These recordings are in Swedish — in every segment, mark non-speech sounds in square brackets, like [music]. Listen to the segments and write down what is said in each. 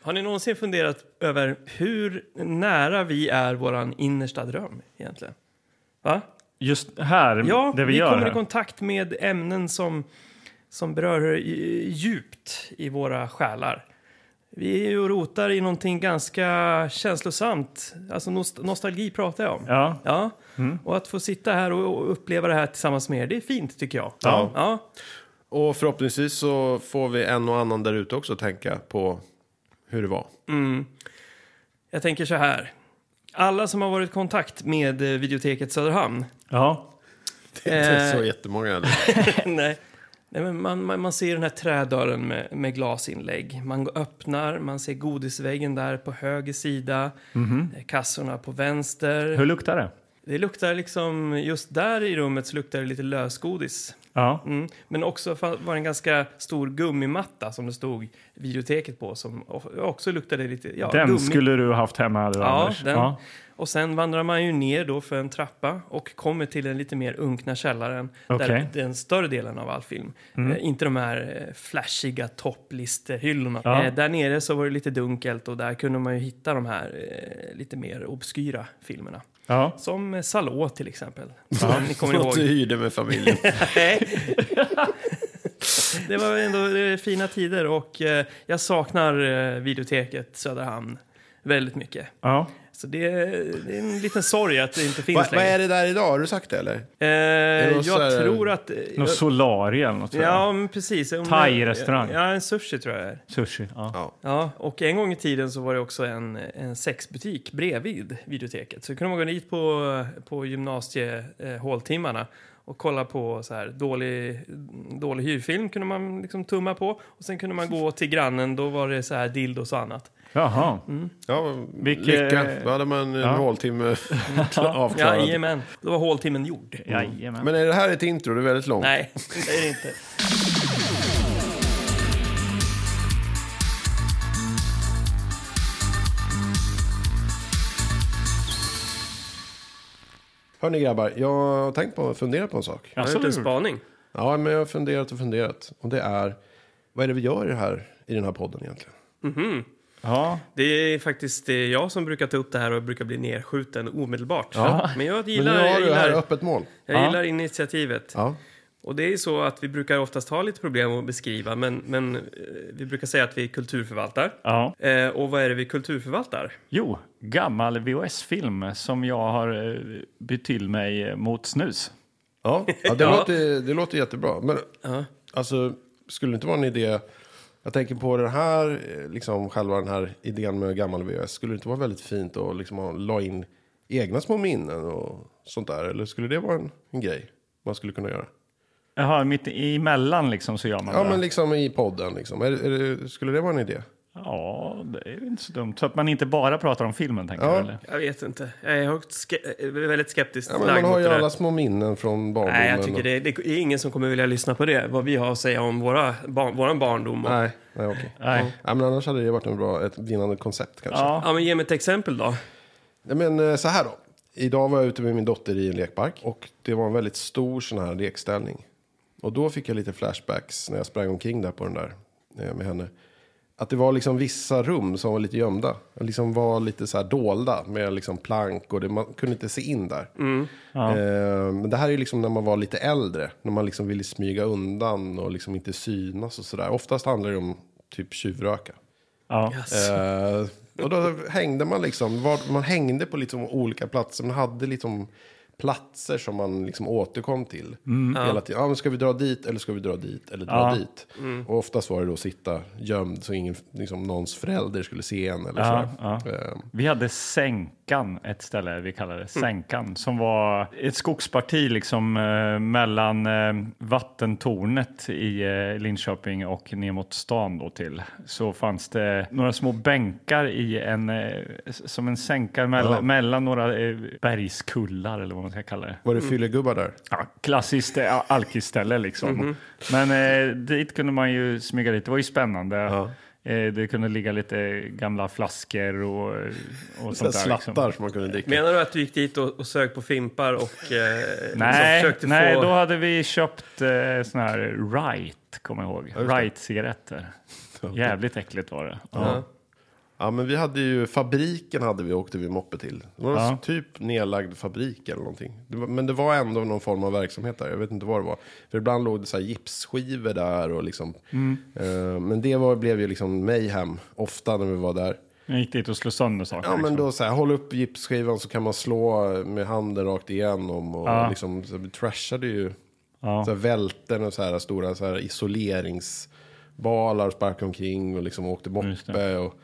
Har ni någonsin funderat över hur nära vi är våran innersta dröm egentligen? Va? Just här, Ja, Mm, det vi, vi gör kommer här. i kontakt med ämnen som, som berör eh, djupt i våra själar. Vi är ju och rotar i någonting ganska känslosamt. Alltså nost- nostalgi pratar jag om. Ja, Mm. Ja, och att få sitta här och och uppleva det här tillsammans med er, det är fint tycker jag. Ja. ja. Och förhoppningsvis så får vi en och annan där ute också tänka på hur det var. [laughs] Jag tänker så här. Alla som har varit i kontakt med eh, Videoteket Söderhamn. ja. Det är inte Eh. så jättemånga. [laughs] eller? nej. Nej, men man, man, man ser den här trädörren med, med glasinlägg. Man går- öppnar, man ser godisväggen där på höger sida. eh, Kassorna på vänster. Mhm. Hur luktar det? Det luktar liksom, just där i rummet så luktar det lite lösgodis. Ja. Mm. Men också fa- var det en ganska stor gummimatta som det stod videoteket på som o- också luktade lite ja, den gummi. skulle du haft hemma, eller, Ja, Anders. den. Ja. Och sen vandrar man ju ner då för en trappa och kommer till den lite mer unkna källaren. Okej. Mm. Där den större delen av all film. Eh, inte de här eh, flashiga topplistehyllorna. Ja. Eh, där nere så var det lite dunkelt och där kunde man ju hitta de här eh, lite mer obskyra filmerna. Ja. Som eh, Salå till exempel. Ni [laughs] kommer Något du typ. ihåg. hyrde med familjen. [laughs] Nej. det var ändå det är fina tider och eh, jag saknar eh, videoteket Söderhamn väldigt mycket. Ja. Så det, det är en liten sorg att det inte finns Va, vad längre. är det där idag? Har du sagt det eller? Eh, det någon jag så här- tror att... Någon solarie eller något. tror jag. ja, men precis. Om- Thai-restaurang. Ja, en sushi tror jag det är. Sushi. Ja. Ja. Ja, och en gång i tiden så var det också en, en sexbutik bredvid videoteket. Så kunde man gå dit på, på gymnasiehåltimmarna och kolla på så här dålig, dålig hyrfilm kunde man liksom tumma på. Och sen kunde man gå till grannen, då var det så här dildos och annat. Jaha. Mm. Ja, Vilket- lycka. Då hade man en Ja. håltimme [laughs] avklarad. Ja, jajamän. Då var håltimmen gjord. Jajamän. Men är det här ett intro? Det är väldigt långt. Nej, det är det inte. Hörni grabbar, jag har tänkt på, funderat på en sak. Jag har gjort en Absolut. spaning. Ja, men jag har funderat och funderat. Och det är, vad är det vi gör i, det här, i den här podden egentligen? Ja. Det är faktiskt eh, jag som brukar ta upp det här och brukar bli nerskjuten omedelbart. Men jag gillar, men nu har jag du här gillar, öppet mål. jag Ja. gillar initiativet. Ja. Och det är ju så att vi brukar oftast ha lite problem att beskriva, men, men eh, vi brukar säga att vi kulturförvaltar. ja. Eh, och vad är det vi kulturförvaltar? Jo, gammal VHS-film som jag har eh, bytt till mig eh, mot snus. Ja, ja, det, Ja. Låter, det låter jättebra. Men alltså, skulle det inte vara en idé... Jag tänker på den här, eh, liksom, själva den här idén med gammal VHS. Skulle det inte vara väldigt fint att liksom, ha- la in egna små minnen och sånt där? Eller skulle det vara en, en grej man skulle kunna göra? Jaha, mitt emellan liksom så gör man Ja, det. men liksom i podden. Liksom. Är, det- är, det- skulle det vara en idé? Ja, det är ju inte så dumt. Så att man inte bara pratar om filmen, tänker Ja. du? Eller? Jag vet inte. Jag är högt ske- eh, väldigt skeptisk Ja, men lagd man har mot ju det där. alla små minnen från barndomen. Nej, jag tycker det, det är ingen som kommer vilja lyssna på det. Vad vi har att säga om våra, barn, våran barndom. och... Och, Nej, nej okej. Nej. Ja, men annars hade det varit en bra, ett vinnande koncept kanske. Ja. Ja, men ge mig ett exempel då. Nej, men eh, så här då. Idag var jag ute med min dotter i en lekpark och det var en väldigt stor sån här lekställning. Och då fick jag lite flashbacks när jag sprang omkring där på den där eh, med henne. Att det var liksom vissa rum som var lite gömda. Liksom var lite så här dolda med liksom plank och det, man kunde inte se in där. Eh, Men det här är ju liksom när man var lite äldre. När man liksom ville smyga undan och liksom inte synas och sådär. Oftast handlar det om typ tjuvröka. Ja. Eh, och då hängde man liksom, var, man hängde på liksom olika platser, man hade liksom platser som man liksom återkom till. Hela tiden. Ja, men ska vi dra dit eller ska vi dra dit eller dra Mm. Ja. dit? Och oftast var det då sitta gömd så ingen, liksom, någons förälder skulle se en eller Ja, så. Eh, Vi hade Sänkan, ett ställe vi kallade det, Sänkan, som var ett skogsparti liksom eh, mellan eh, vattentornet i eh, Linköping och ner mot stan då till. Så fanns det några små bänkar i en, eh, s- som en sänka mellan, mellan några eh, bergskullar eller vad man ska kalla det. Var det fyllegubbar där? Ja, klassiskt eh, alkisställe liksom. Men eh, dit kunde man ju smyga dit. Det var ju spännande. Eh, det kunde ligga lite gamla flaskor och, och Där sånt där. slattar Liksom. som man kunde dricka. Menar du att du gick dit och, och sög på fimpar och eh, liksom Nej, försökte nej, få... då hade vi köpt eh, sån här Right, kommer jag ihåg. det. [laughs] Right-cigaretter. Jävligt äckligt var det. Ja. Ja, men vi hade ju fabriken hade vi åkte vi moppe till. Det var Ja. en typ nedlagd fabrik eller någonting. Det var, men det var ändå någon form av verksamhet där. Jag vet inte vad det var. För ibland låg det så här gipsskivor där och liksom. Mm. Eh, men det var, blev ju liksom mayhem ofta när vi var där. Jag gick dit och slog sönder saker. Ja, men liksom. då så här, håll upp gipsskivan så kan man slå med handen rakt igenom. Och Ja. liksom, så vi trashade ju Ja. så här, välten och så här, stora så här, isoleringsbalar sparkade omkring och liksom åkte Just Mm. moppe. Och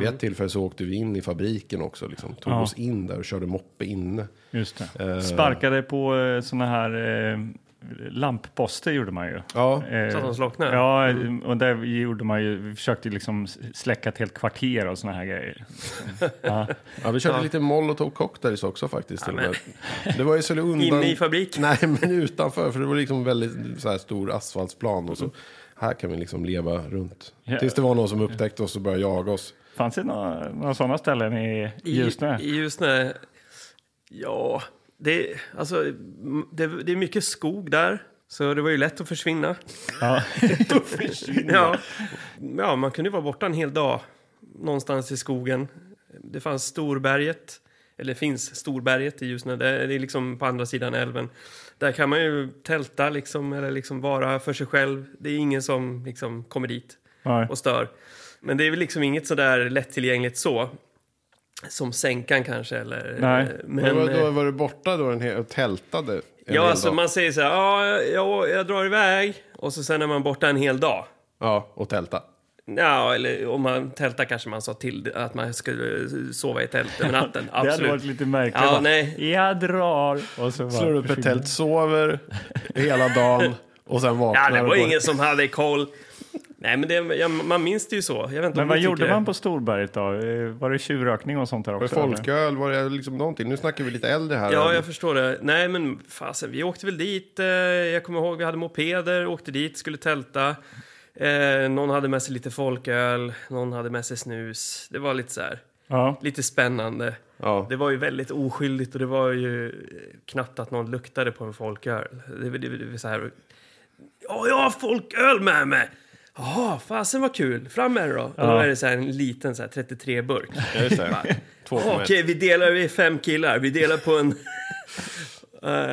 Vid ett tillfälle så åkte vi in i fabriken också. Liksom, tog Ja. oss in där och körde moppe inne. Just Eh. det. Sparkade på eh, såna här eh, lampposter gjorde man ju. Ja, Eh, Så att de slocknade? Ja, och där gjorde man ju, vi försökte ju liksom släcka ett helt kvarter och såna här grejer. ja. ja vi körde lite molotov cocktails också faktiskt. till och med. Det var [laughs] ju så undan... Inne i fabriken? Nej, men utanför. För det var liksom väldigt så här, stor asfaltsplan. Och så. Här kan vi liksom leva runt. Mm. Ja. Tills det var någon som upptäckte oss och började jaga oss. Fanns det några, några sådana ställen i I- Ljusne? I Ljusne? Ja, det, alltså, m- det, det är mycket skog där. Så det var ju lätt att försvinna. [laughs] Ja. Ja, ja man kunde ju vara borta en hel dag någonstans i skogen. Det fanns Storberget, eller finns Storberget i Ljusne. Det är det är liksom på andra sidan älven. Där kan man ju tälta liksom, eller liksom vara för sig själv. Det är ingen som liksom kommer dit Nej. och stör. Men det är väl liksom inget sådär lättillgängligt så. Som sänkan kanske eller... Nej. Men, Men, var, eh, då var du borta då en hel, och tältade? En hel ja, alltså dag. man säger så här, ja, jag, jag drar iväg och så sen är man borta en hel dag. Ja, och tälta. Ja, eller om man tältar kanske man sa till att man skulle eh, sova i tält över natten. [laughs] Det hade Absolut. varit lite märkligt. Ja, Bara, nej. Jag drar! Och så bara Slår upp ett försvinner. tält, sover hela dagen och sen ja, vaknar. det och var går- ingen som hade koll. Nej, men det, ja, man minns det ju så. Jag vet inte Men om vad ni gjorde tycker man på Storberget då? Eh, Var det tjurrökning och sånt där Var också? det folköl? Var det liksom någonting? Nu snackar vi lite äldre här. Ja, jag förstår det. Nej, men fasen, vi åkte väl dit. Eh, jag kommer ihåg, vi hade mopeder, åkte dit, skulle tälta. Eh, någon hade med sig lite folköl, någon hade med sig snus. Det var lite så här, Ja. lite spännande. Ja. Det var ju väldigt oskyldigt och det var ju eh, knappt att någon luktade på en folköl. Det, det, det, det var så här... Ja, jag har folköl med mig! Jaha, fasen vad kul! Fram med det då! Och då Ja. är det så här en liten så här 33-burk. Ja, [laughs] just det. Två för Okej, vi mig. delar, vi är fem killar, vi delar på en...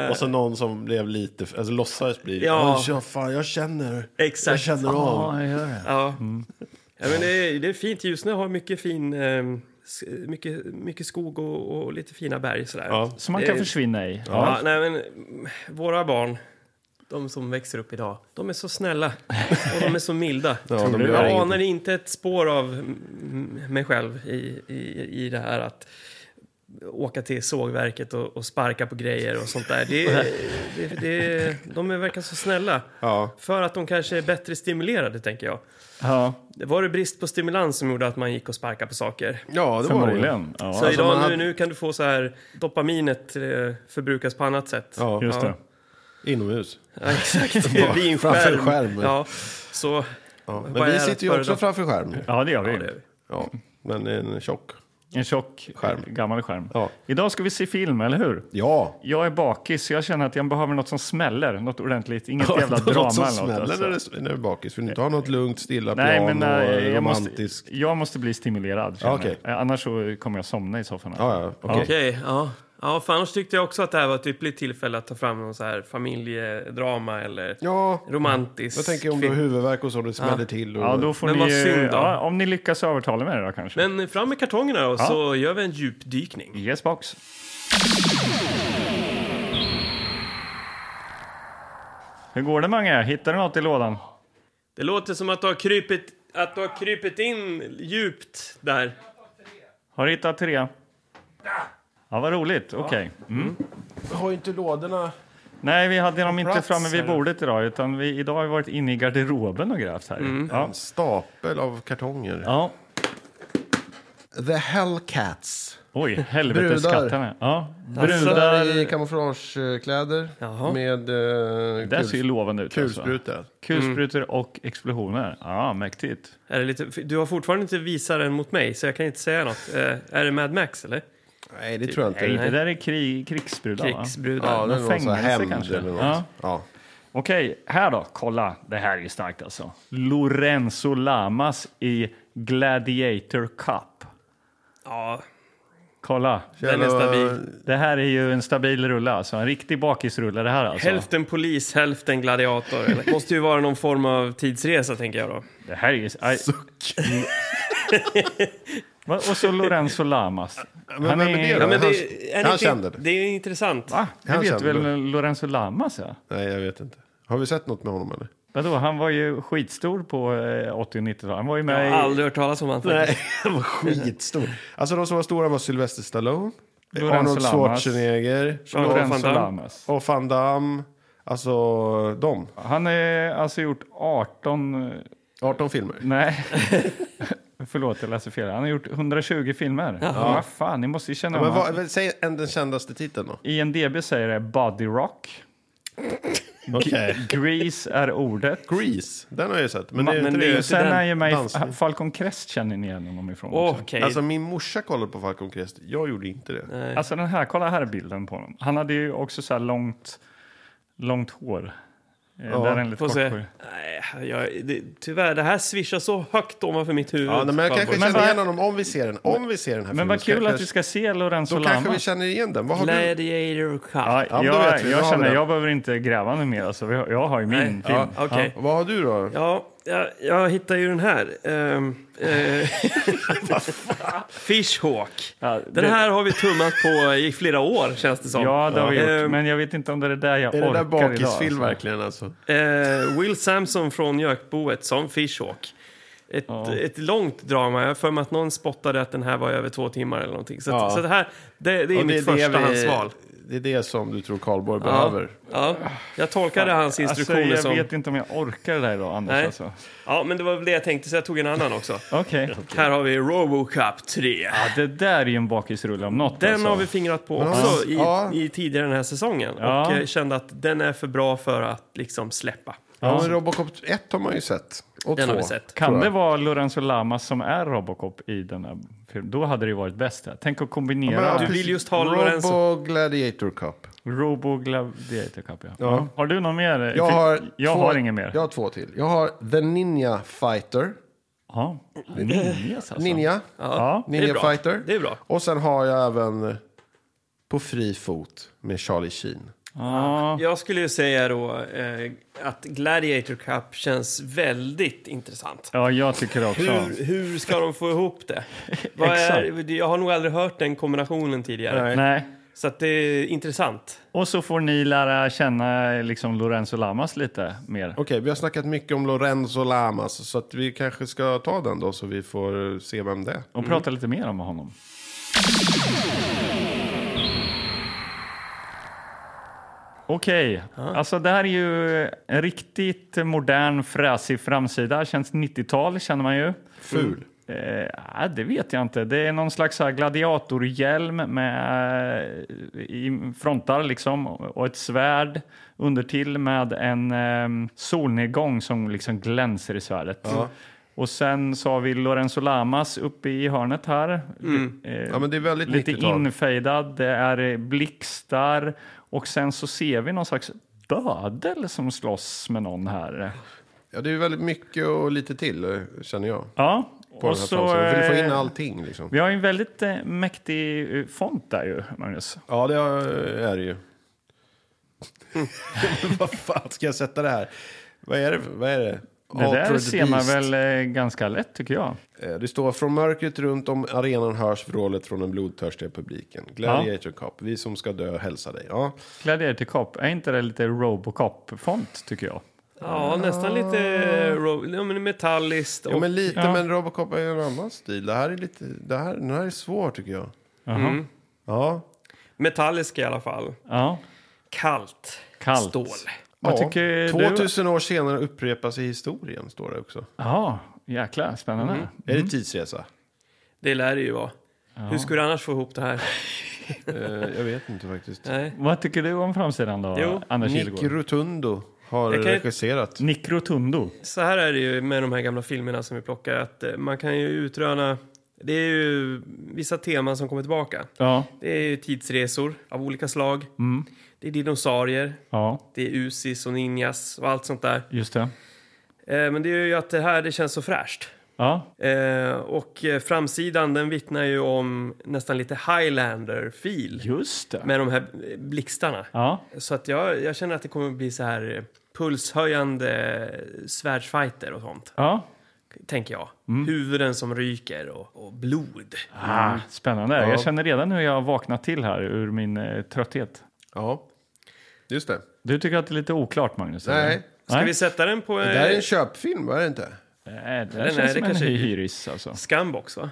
Och så någon som blev lite, alltså låtsades bli. Ja. Ja. ja, fan, jag känner. Jag Exakt. känner av. jag gör det. Ja. Mm. ja men det, är, det är fint. Ljusne har mycket fin... ehm, s- Mycket, mycket skog och, och lite fina berg sådär. Ja. Som man Det- kan försvinna i. Ja. nej, men mm, våra barn, de som växer upp idag, de är så snälla och de är så milda. [laughs] Ja, de gör jag ingenting. anar inte ett spår av mm, mig själv i, i, i det här att åka till sågverket och, och sparka på grejer och sånt där. Det, [laughs] det, det, de verkar så snälla. Ja. För att de kanske är bättre stimulerade, tänker jag. Ja, Var det brist på stimulans som gjorde att man gick och sparkade på saker? ja, det var det. förmodligen. Ja. Så alltså idag man nu, hade- nu kan du få så här, dopaminet eh, förbrukas på annat sätt. Ja, Just det. inomhus. Ja, [laughs] [laughs] exakt. Ja, Vinskärm. framför skärmen. Ja, så... Ja. Vad Men vi är sitter det ju för också idag? framför skärm. Ja, det gör vi. Ja, det är vi. Ja, men en tjock. En tjock Skärm. gammal skärm. Ja. Idag ska vi se film, eller hur? Ja. Jag är bakis, så jag känner att jag behöver något som smäller. Något ordentligt, inget [laughs] jävla Något drama som eller något. smäller Alltså. när du- när du är bakis. Vill du inte ha något lugnt, stilla Nej, piano men och nej, jag, måste, romantisk? jag måste bli stimulerad. känner jag. okej. Eh, Annars så kommer jag somna i soffan. här. Ja, ja, okej. Okej, ja. Ja, för annars tyckte jag också att det här var ett ypperligt tillfälle att ta fram någon så här familjedrama eller Ja, romantisk jag tänker om du har film. huvudvärk och så, det smäller till. Och... Ja, då får Men vad ni, ju- synd då. ja, om ni lyckas övertala mig då kanske. Men fram med kartongerna och så gör vi en djupdykning. Yes box. Hur går det Mange? Hittar du något i lådan? Det låter som att du har krypit, att du har krypit in djupt där. Har du hittat tre? Ja, vad roligt. Okej. Mm. har ju inte lådorna... Nej, vi hade dem inte plats framme vid här. bordet idag, utan vi, idag har vi varit inne i garderoben och grävt här. Mm. Ja. En stapel av kartonger. ja. The Hellcats. Oj, helvetes Brudar. katterna. Ja. Brudar i Brudar. kamouflagekläder Jaha. med eh, Det ser ju kul, lovande ut. alltså. kulsprutor. Mm. Kulsprutor och explosioner. Ja, mäktigt. Är det lite, du har fortfarande inte visat den mot mig, så jag kan inte säga något. Eh, är det Mad Max, eller? Nej, det tror jag inte. Nej, Ja, det där är krig, krigsbrudar, va? Krigsbrudar. det är Typ någon någon sån här fängelse hämnd kanske. eller något. Ja. Ja. Ja. Okej, här då. Kolla, det här är ju starkt alltså. Lorenzo Lamas i Gladiator Cup. Ja, Kolla, Den är stabil. det här är ju en stabil rulle alltså. En riktig bakisrulle det här alltså. hälften polis, hälften gladiator. Eller? [laughs] Måste ju vara någon form av tidsresa tänker jag då. Det här är ju... Aj. [laughs] Va? Och så Lorenzo Lamas. vem är det då? Ja, men det, Han- är han inte- kände det. Det är intressant. Va? Det Han vet kände väl det. Lorenzo Lamas ja. Nej, jag vet inte. Har vi sett något med honom eller? Vadå, han var ju skitstor på eh, 80 och 90-talet. Han var ju Jag med har i... aldrig hört talas om honom. faktiskt. Nej, han var [laughs] skitstor. Alltså de som var stora var Sylvester Stallone, Lorenzo Arnold Lamas. Schwarzenegger Jean-Claude Van Lorenzo Damme. Lamas. och van Damme. Alltså de. Han har alltså gjort 18... eh, 18 filmer. Nej. [laughs] Förlåt, jag läser fel. Han har gjort 120 filmer. Ja. Vad fan, ni måste ju känna Men honom. vad, väl, säg en- den kändaste titeln då. IMDB säger det, Body Rock. Okej. Grease är ordet. Grease, den har jag ju sett. Men, det är Men inte det är ju det. så- Sen den är ju mig dansning. Falcon Crest känner ni igen honom ifrån. också. Okej. Alltså min morsa kollade på Falcon Crest, jag gjorde inte det. Nej. Alltså den här, kolla här bilden på honom. Han hade ju också så här långt, långt hår. Ja, där är en lite Får kort se. hår. Nej, jag, det, tyvärr, det här swishar så högt ovanför mitt huvud. Ja, nej, men jag kanske Fanboy. Men känner vad- igen honom om vi ser den. Om vi ser den här Men filmen. vad så kul att kanske- vi ska se Lorenzo Då kanske vi Lamas. känner igen den. Vad har du? Gladiator Cup. Ja, Ja, men då vet jag, vi, då jag har vi känner, den. jag behöver inte gräva nu mer. Alltså, jag, jag har ju min Nej, film. ja, okej. Vad har du då? Ja, jag, jag hittar ju den här. Um, [laughs] [laughs] Fishhawk. Ja, Den det- här har vi tummat på i flera år, känns det som. Ja, det har vi Ja. gjort. Men jag vet inte om det är det där jag Ehm, Är orkar det där idag. bakisfilm alltså. verkligen alltså? Eh, Will Samson från Jökboet som Fishhawk. Ett, Ja. ett långt drama. Jag har för mig att någon spottade att den här var över två timmar eller någonting. Så, att, Ja. så det här, det, det är Och mitt det förstahandsval. Det är det som du tror Karlborg Ja, behöver. ja. Jag tolkade hans instruktioner alltså, jag som... vet inte om jag orkar det där idag, Anders. Nej. Alltså. Ja, men det var väl det jag tänkte, så jag tog en annan också. [laughs] Okej. Här har vi RoboCop 3. Ja, det där är ju en bakisrulle om något. Den alltså. har vi fingrat på Ja. också i, Ja. i tidigare den här säsongen. Ja. Och eh, kände att den är för bra för att liksom släppa. Ja. men Robocop 1 har man ju sett. Och Den två. har vi sett. Kan tror det jag. vara Lorenzo Lamas som är Robocop i den här filmen? Då hade det ju varit bäst. här. Tänk att kombinera Men, Du vill just ha Robo Lorenzo. Gladiator Cup. Robo Gladiator Cup. Ja. Ja. Har du någon mer? Jag har, jag två, har ingen mer. Jag har två till. Jag har The Ninja Fighter. Ja. Ninjas alltså. Ninja. Ja. Det är Ninja bra. Fighter. Det är bra. Och sen har jag även På fri fot med Charlie Sheen. Ja. Jag skulle ju säga då eh, att Gladiator Cup känns väldigt intressant. ja, jag tycker det också. Hur, hur ska de få ihop [laughs] det? Vad är, Exakt. jag har nog aldrig hört den kombinationen tidigare. Nej. Så att det är intressant. Och så får ni lära känna liksom Lorenzo Lamas lite mer. Okej, vi har snackat mycket om Lorenzo Lamas. Så att vi kanske ska ta den då så vi får se vem det är. Och prata lite mer om honom. Okej, alltså det här är ju en riktigt modern fräsig framsida. Känns 90-tal känner man ju. Ful. Eh, ah, det vet jag inte. Det är någon slags så här gladiatorhjälm med eh, i frontar liksom och ett svärd undertill med en eh, solnedgång som liksom glänser i svärdet. Och sen så har vi Lorenzo Lamas uppe i hörnet här. Mm. Eh, Ja, men det är väldigt lite 90-tal. infejdad, det är eh, blixtar och sen så ser vi någon slags bödel som slåss med någon här. Ja, det är väldigt mycket och lite till, eh, känner jag. Ja, På och den här så... framsidan. Vi vill få in eh, allting liksom. Vi har ju en väldigt eh, mäktig eh, font där ju, Magnus. Ja, det är det ju. [laughs] vad fan ska jag sätta det här? Vad är det? för- Vad är det? Det där Altered ser man Beast. väl eh, ganska lätt tycker jag. Eh, Det står från mörkret runt om arenan hörs vrålet från den blodtörstiga publiken. Gladiator Cup, vi som ska dö hälsa dig. Ja. Gladiator Cop, är inte det lite Robocop-font tycker jag? Ja, nästan lite ro- ja, men metalliskt. Och, Jo, men lite, Ah. Ja. men Robocop är ju en annan stil. Det här är lite, det här, den här är svår tycker jag. Mm. Jaha. Ja, Metallisk i alla fall. Ja, Kallt. kallt. Stål. Vad ja. tycker du? 2000 år senare upprepas i historien, står det också. Ja, jäklar, spännande. Är Mm. det tidsresa? Det lär det ju vara. Hur skulle du annars få ihop det här? Eh, jag vet inte Eh, faktiskt. Nej. Vad tycker du om framsidan då, Jo, Anders Nick Nick, Rotundo har Jag kan- regisserat. Nick Rotundo. Så här är det ju med de här gamla filmerna som vi plockar. Att eh, man kan ju utröna... Det är ju vissa teman som kommer tillbaka. Ja, Det är ju tidsresor av olika slag. Det är dinosaurier. ja, Det är usis och ninjas och allt sånt där. just det. Eh, Men det är ju att det här det känns så fräscht. Ja, Eh, och eh, framsidan den vittnar ju om nästan lite Highlander-fil just det. med de här eh, blixtarna. Ja, Så att jag, jag känner att det kommer att bli så här eh, pulshöjande eh, svärdsfighter och sånt, ja. tänker jag. Huvuden som ryker och, och blod. Ah, spännande. Ja. Jag känner redan hur jag har vaknat till här ur min eh, trötthet. Ja, just det. Du tycker att det är lite oklart, Magnus? Nej. eller? Ska Nej? vi sätta den på Det här är eh, en köpfilm, är det inte? Nej, Eh, det där Nej, känns nej, det som en kanske är- hyris alltså. Scumbox, va?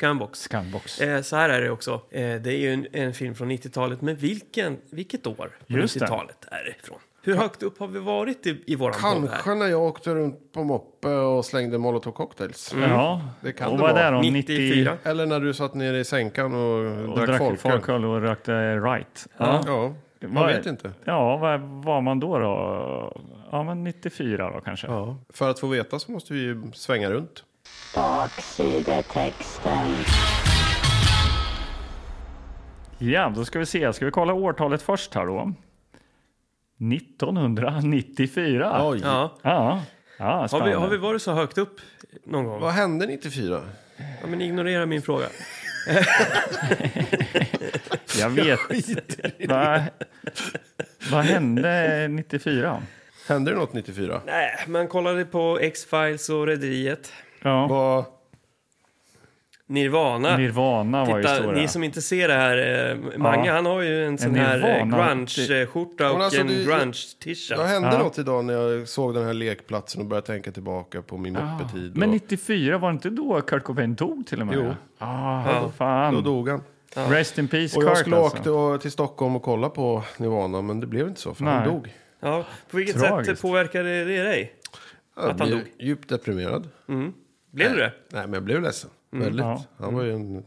Scumbox. Scanbox. Eh, så här är det också. Eh, det är ju en, en film från 90-talet, men vilken, vilket år på Just det. 90-talet är det ifrån? Hur högt upp har vi varit i, i våran podd här? Kanske när jag åkte runt på moppe och slängde molotovcocktails. Mm. mm. Ja, Det kan och det vad är vara. det då? 94. Eller när du satt nere i sänkan och, och drack, drack folköl. folköl och rökte right. Ja, Ja, man Vad- vet inte. ja vad var man då då? Ja, men 94 då kanske. Ja. För att få veta så måste vi ju svänga runt. Baksidetexten. Ja, då ska vi se. Ska vi kolla årtalet först här då? 1994. Oj. Ja. Ja, ja Har vi, spännande. har vi varit så högt upp någon gång? Vad hände 94? Ja, men ignorera min fråga. Jag [laughs] vet. Vad, vad hände 94? Hände det något 94? Nej, man kollade på X-Files och Rederiet. Ja, Vad... Nirvana. Nirvana var ju Titta, stora. ni som inte ser det här, eh, Mange Ja. han har ju en sån här eh, Nirvana- grunge-skjorta och Men alltså, en det- grunge-tisha. Vad hände Ja. något idag när jag såg den här lekplatsen och började tänka tillbaka på min moppetid? Men och- 94, var det inte då Kurt Cobain dog till och med? Jo. Ah, Ja. Då fan. dog han. Rest in peace Och Kurt jag skulle alltså. åkt och- till Stockholm och kolla på Nirvana, men det blev inte så, för han Nej. dog. Ja, på vilket sätt Tragiskt. påverkade det dig? Jag Att han blev dog? djupt deprimerad. Blev du det? Nej, men jag blev ledsen. Väldigt. Mm, Ja. Han var ju en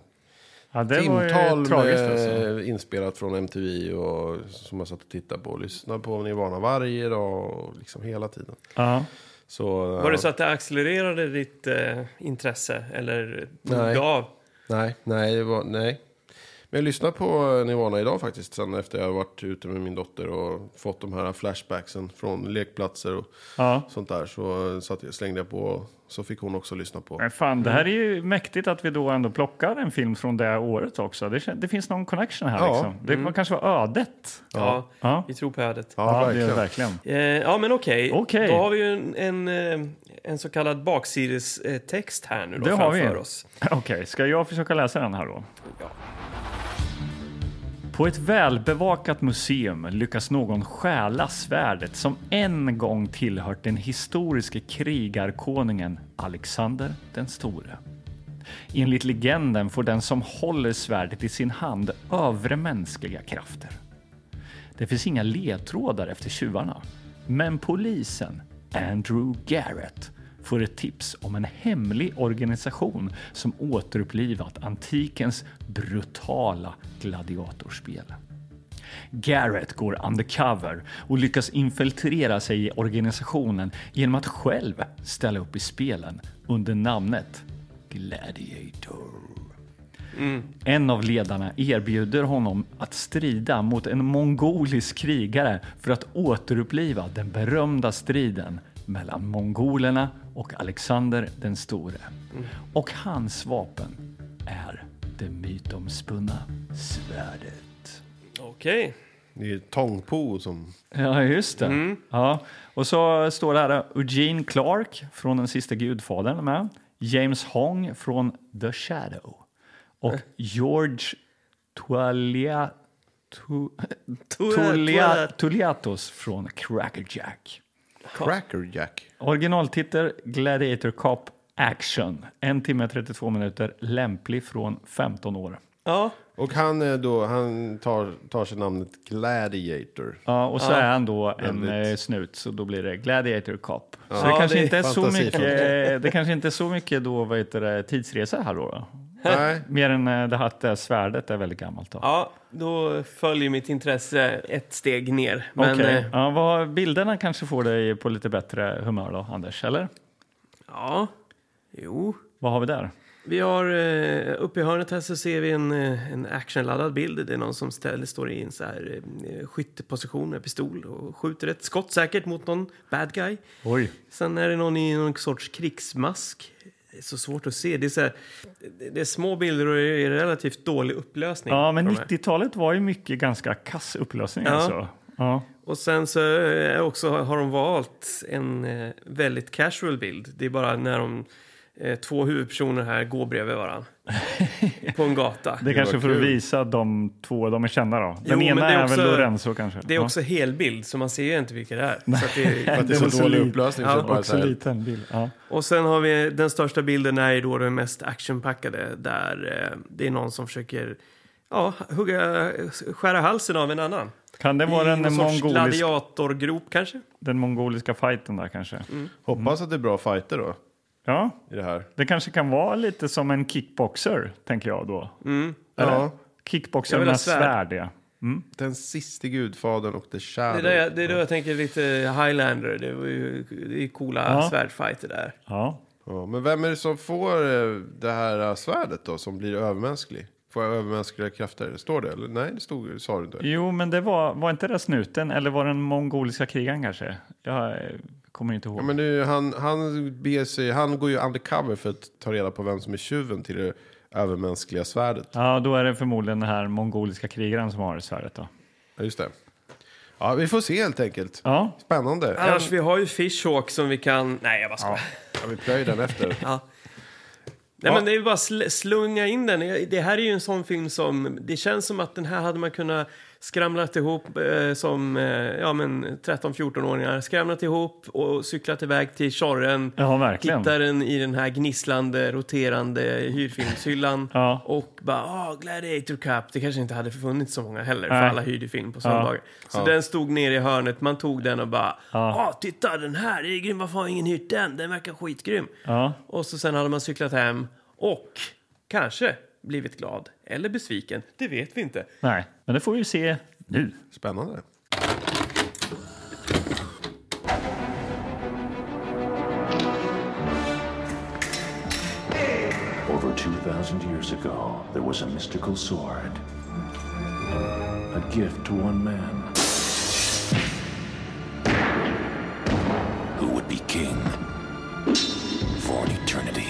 Ja, det var ju timtal tragiskt med alltså. inspelat från MTV och som jag satt och tittade på och lyssnade på Nirvana varje dag och liksom hela tiden. Ja. Så, Var det så att det accelererade ditt eh, intresse? Eller Nej. gav? eh, Nej, nej, det var, nej. Men jag lyssnade på Nirvana idag faktiskt. Sen efter jag har varit ute med min dotter och fått de här flashbacksen från lekplatser och ja. sånt där. Så, så att jag slängde jag på och så fick hon också lyssna på. Men fan, det här är ju mäktigt att vi då ändå plockar en film från det året också. Det, kän- det finns någon connection här Ja. Mm. liksom. Det kanske var ödet. Ja. Ja, vi tror på ödet. Ja, Ja, ja det är det verkligen. verkligen. eh, ja men okej. Okej. Då har vi ju en, en, eh, en så kallad baksidestext här nu då Det har vi. framför oss. [laughs] Okej, ska jag försöka läsa den här då? På ett välbevakat museum lyckas någon stjäla svärdet som en gång tillhört den historiske krigarkonungen Alexander den store. Enligt legenden får den som håller svärdet i sin hand övermänskliga krafter. Det finns inga ledtrådar efter tjuvarna. Men polisen, Andrew Garrett, får ett tips om en hemlig organisation som återupplivat antikens brutala gladiatorspel. Garrett går undercover och lyckas infiltrera sig i organisationen genom att själv ställa upp i spelen under namnet Gladiator. En av ledarna erbjuder honom att strida mot en mongolisk krigare för att återuppliva den berömda striden mellan mongolerna och Alexander den store. Och hans vapen är det mytomspunna svärdet. Okej. Det är Tongpo som... Ja, just det. Ja. Och så står det här Eugene Clark från Den sista gudfadern med. James Hong från The Shadow. Och George Tualia, tu, Tulia, Tualia- Tuliatos från Crackerjack. Cracker Jack. Originaltitel Gladiator Cop Action. En timme 32 minuter, lämplig från 15 år. Ja, Och han, är då, han tar, tar sig namnet Gladiator. Ja, och så är han då en Väldigt. eh, snut, så då blir det Gladiator Cop. Så Ja, det, kanske det är inte är så fantasifullt. mycket, det kanske inte är så mycket då, vad heter det, tidsresa här då. då. Nej, Mer än eh, det här att det här svärdet är väldigt gammalt. Då. ja, då följer mitt intresse ett steg ner. Men Okej. eh, ja, vad, bilderna kanske får dig på lite bättre humör då, Anders? Eller? ja, jo. Vad har vi där? Vi har eh, uppe i hörnet här så ser vi en, eh, en actionladdad bild. Det är någon som ställer, står i en så här, eh, skytteposition med pistol och skjuter ett skott säkert mot någon bad guy. [laughs] Oj. Sen är det någon i någon sorts krigsmask Det är så svårt att se. Det är, så här, det- det är små bilder och det är relativt dålig upplösning. Ja, men på de här. 90-talet var ju mycket ganska kass upplösning Ja. alltså. Ja. Och sen så är också, har de valt en eh, väldigt casual bild. Det är bara när de eh, två huvudpersoner här går bredvid [laughs] varandra på en gata. Det är kanske var för att kul. visa att de två, de är kända då. Den men ena det är är, också- väl Lorenzo kanske. Det är Ja. också helbild, så man ser inte vilka det är. Så att [laughs] För det, att det är Det var så så dålig lite. upplösning. Ja, så det bara också så här, liten bild. Ja. och sen har vi den största bilden är ju då den mest actionpackade där eh, det är någon som försöker ja, hugga, skära halsen av en annan. Kan det vara I någon den, sorts mongolisk, gladiatorgrop kanske? den mongoliska fighten där kanske? Hoppas att det är bra fighter då, Ja, i det här. det kanske kan vara lite som en kickboxer, tänker jag då. Ja, Jag Kickboxer vill ha med svärd. svärd, ja. den siste gudfadern och The Det är, Shadow. där jag, det är då jag tänker lite Highlander. Det, var ju, det är coola Ja. svärdfighter där. ja. Ja, men vem är det som får eh, det här eh, svärdet då, som blir övermänsklig? Får jag övermänskliga krafter? Står det? Eller? Nej, det stod, sa du inte. Jo, men det var, var inte det snuten, eller var det den mongoliska krigaren kanske? Jag eh, kommer inte ihåg. Ja, men nu, han, han, beger sig, han går ju undercover för att ta reda på vem som är tjuven till det övermänskliga svärdet. Ja, då är det förmodligen den här mongoliska krigaren som har svärdet då. Ja, just det. Ja, vi får se helt enkelt. Ja, Spännande. Annars, vi har ju Fishhawk som vi kan... Nej, jag bara skojar. Ja, vi plöjer den efter. Ja. Nej, Ja. men det är bara sl- slunga in den. Jag- Det här är ju en sån film som... Det känns som att den här hade man kunnat skramlat ihop eh, som eh, ja, men 13-14-åringar. Skramlat ihop och cyklat iväg till Tjorren. ja verkligen. Hittar den i den här gnisslande, roterande hyrfilmshyllan. Ja. Och bara, ah, Gladiator Cup. Det kanske inte hade funnits så många heller, för Nej. alla hyrde film på söndagar. Så den stod nere i hörnet, man tog den och bara, ah, titta den här, det är grym, varför har ingen hyrt den? Den verkar skitgrym. Ja. Och så sen hade man cyklat hem och kanske blivit glad eller besviken, det vet vi inte. Nej, men det får vi ju se nu. Spännande. Over 2,000 years ago, there was a mystical sword. A gift to one man. Who would be king for an eternity.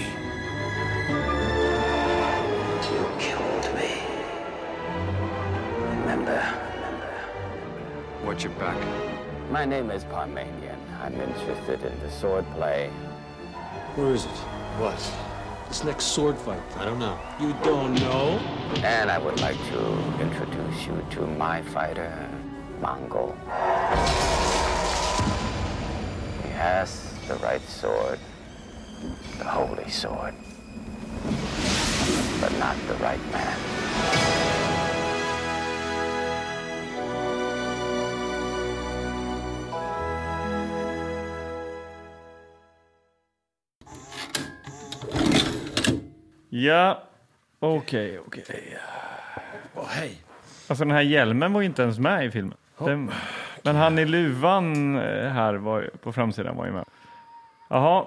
You killed me. Remember. Watch your back. My name is Parmenion. I'm interested in the swordplay. Where is it? What? This next sword fight. I don't know. You don't know? And I would like to introduce you to my fighter, Mongol. He has the right sword, the holy sword, but not the right man. Ja, okej, okej. Alltså den här hjälmen var ju inte ens med i filmen. Den, men han i luvan eh, här var, ju- på framsidan var ju med. Jaha.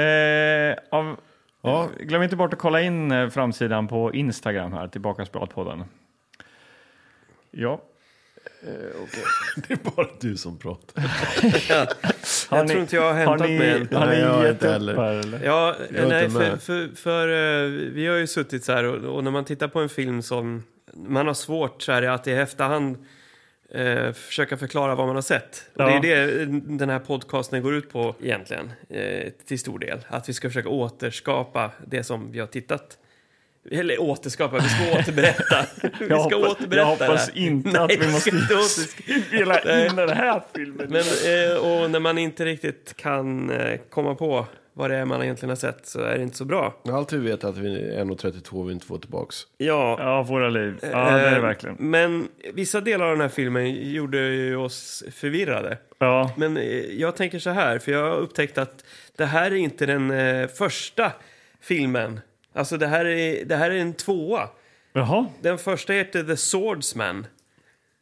Eh, av, Ja. Glöm inte bort att kolla in eh, framsidan på Instagram här, Tillbakaspratpodden. Ja. Bara du som pratar. [laughs] jag tror inte jag har hämtat har ni, mig än. Har Nej, ni jag har gett inte upp heller. här, eller? Ja, Jag är nej, inte för, med. för, för eh, vi har ju suttit så här och, och när man tittar på en film som man har svårt så här att i efterhand eh, försöka förklara vad man har sett. Och Ja. Det är det eh, den här podcasten går ut på egentligen, eh, till stor del. Att vi ska försöka återskapa det som vi har tittat. Eller återskapa, vi ska [laughs] återberätta. vi ska Jag hoppas- återberätta jag hoppas det här. inte Nej, att vi måste- ska inte återsk- Spela in den här filmen. men, eh, och när man inte riktigt kan eh, komma på vad det är man egentligen har sett så är det inte så bra. Allt vi vet är att vi är 1,32 vi inte får tillbaks. Ja, Ja, våra liv. Ja, det är det eh, verkligen. Men vissa delar av den här filmen gjorde ju oss förvirrade. Ja. Men eh, jag tänker så här, för jag har upptäckt att det här är inte den eh, första filmen. Alltså det här, är, det här är en tvåa. Jaha. Den första heter The Swordsman.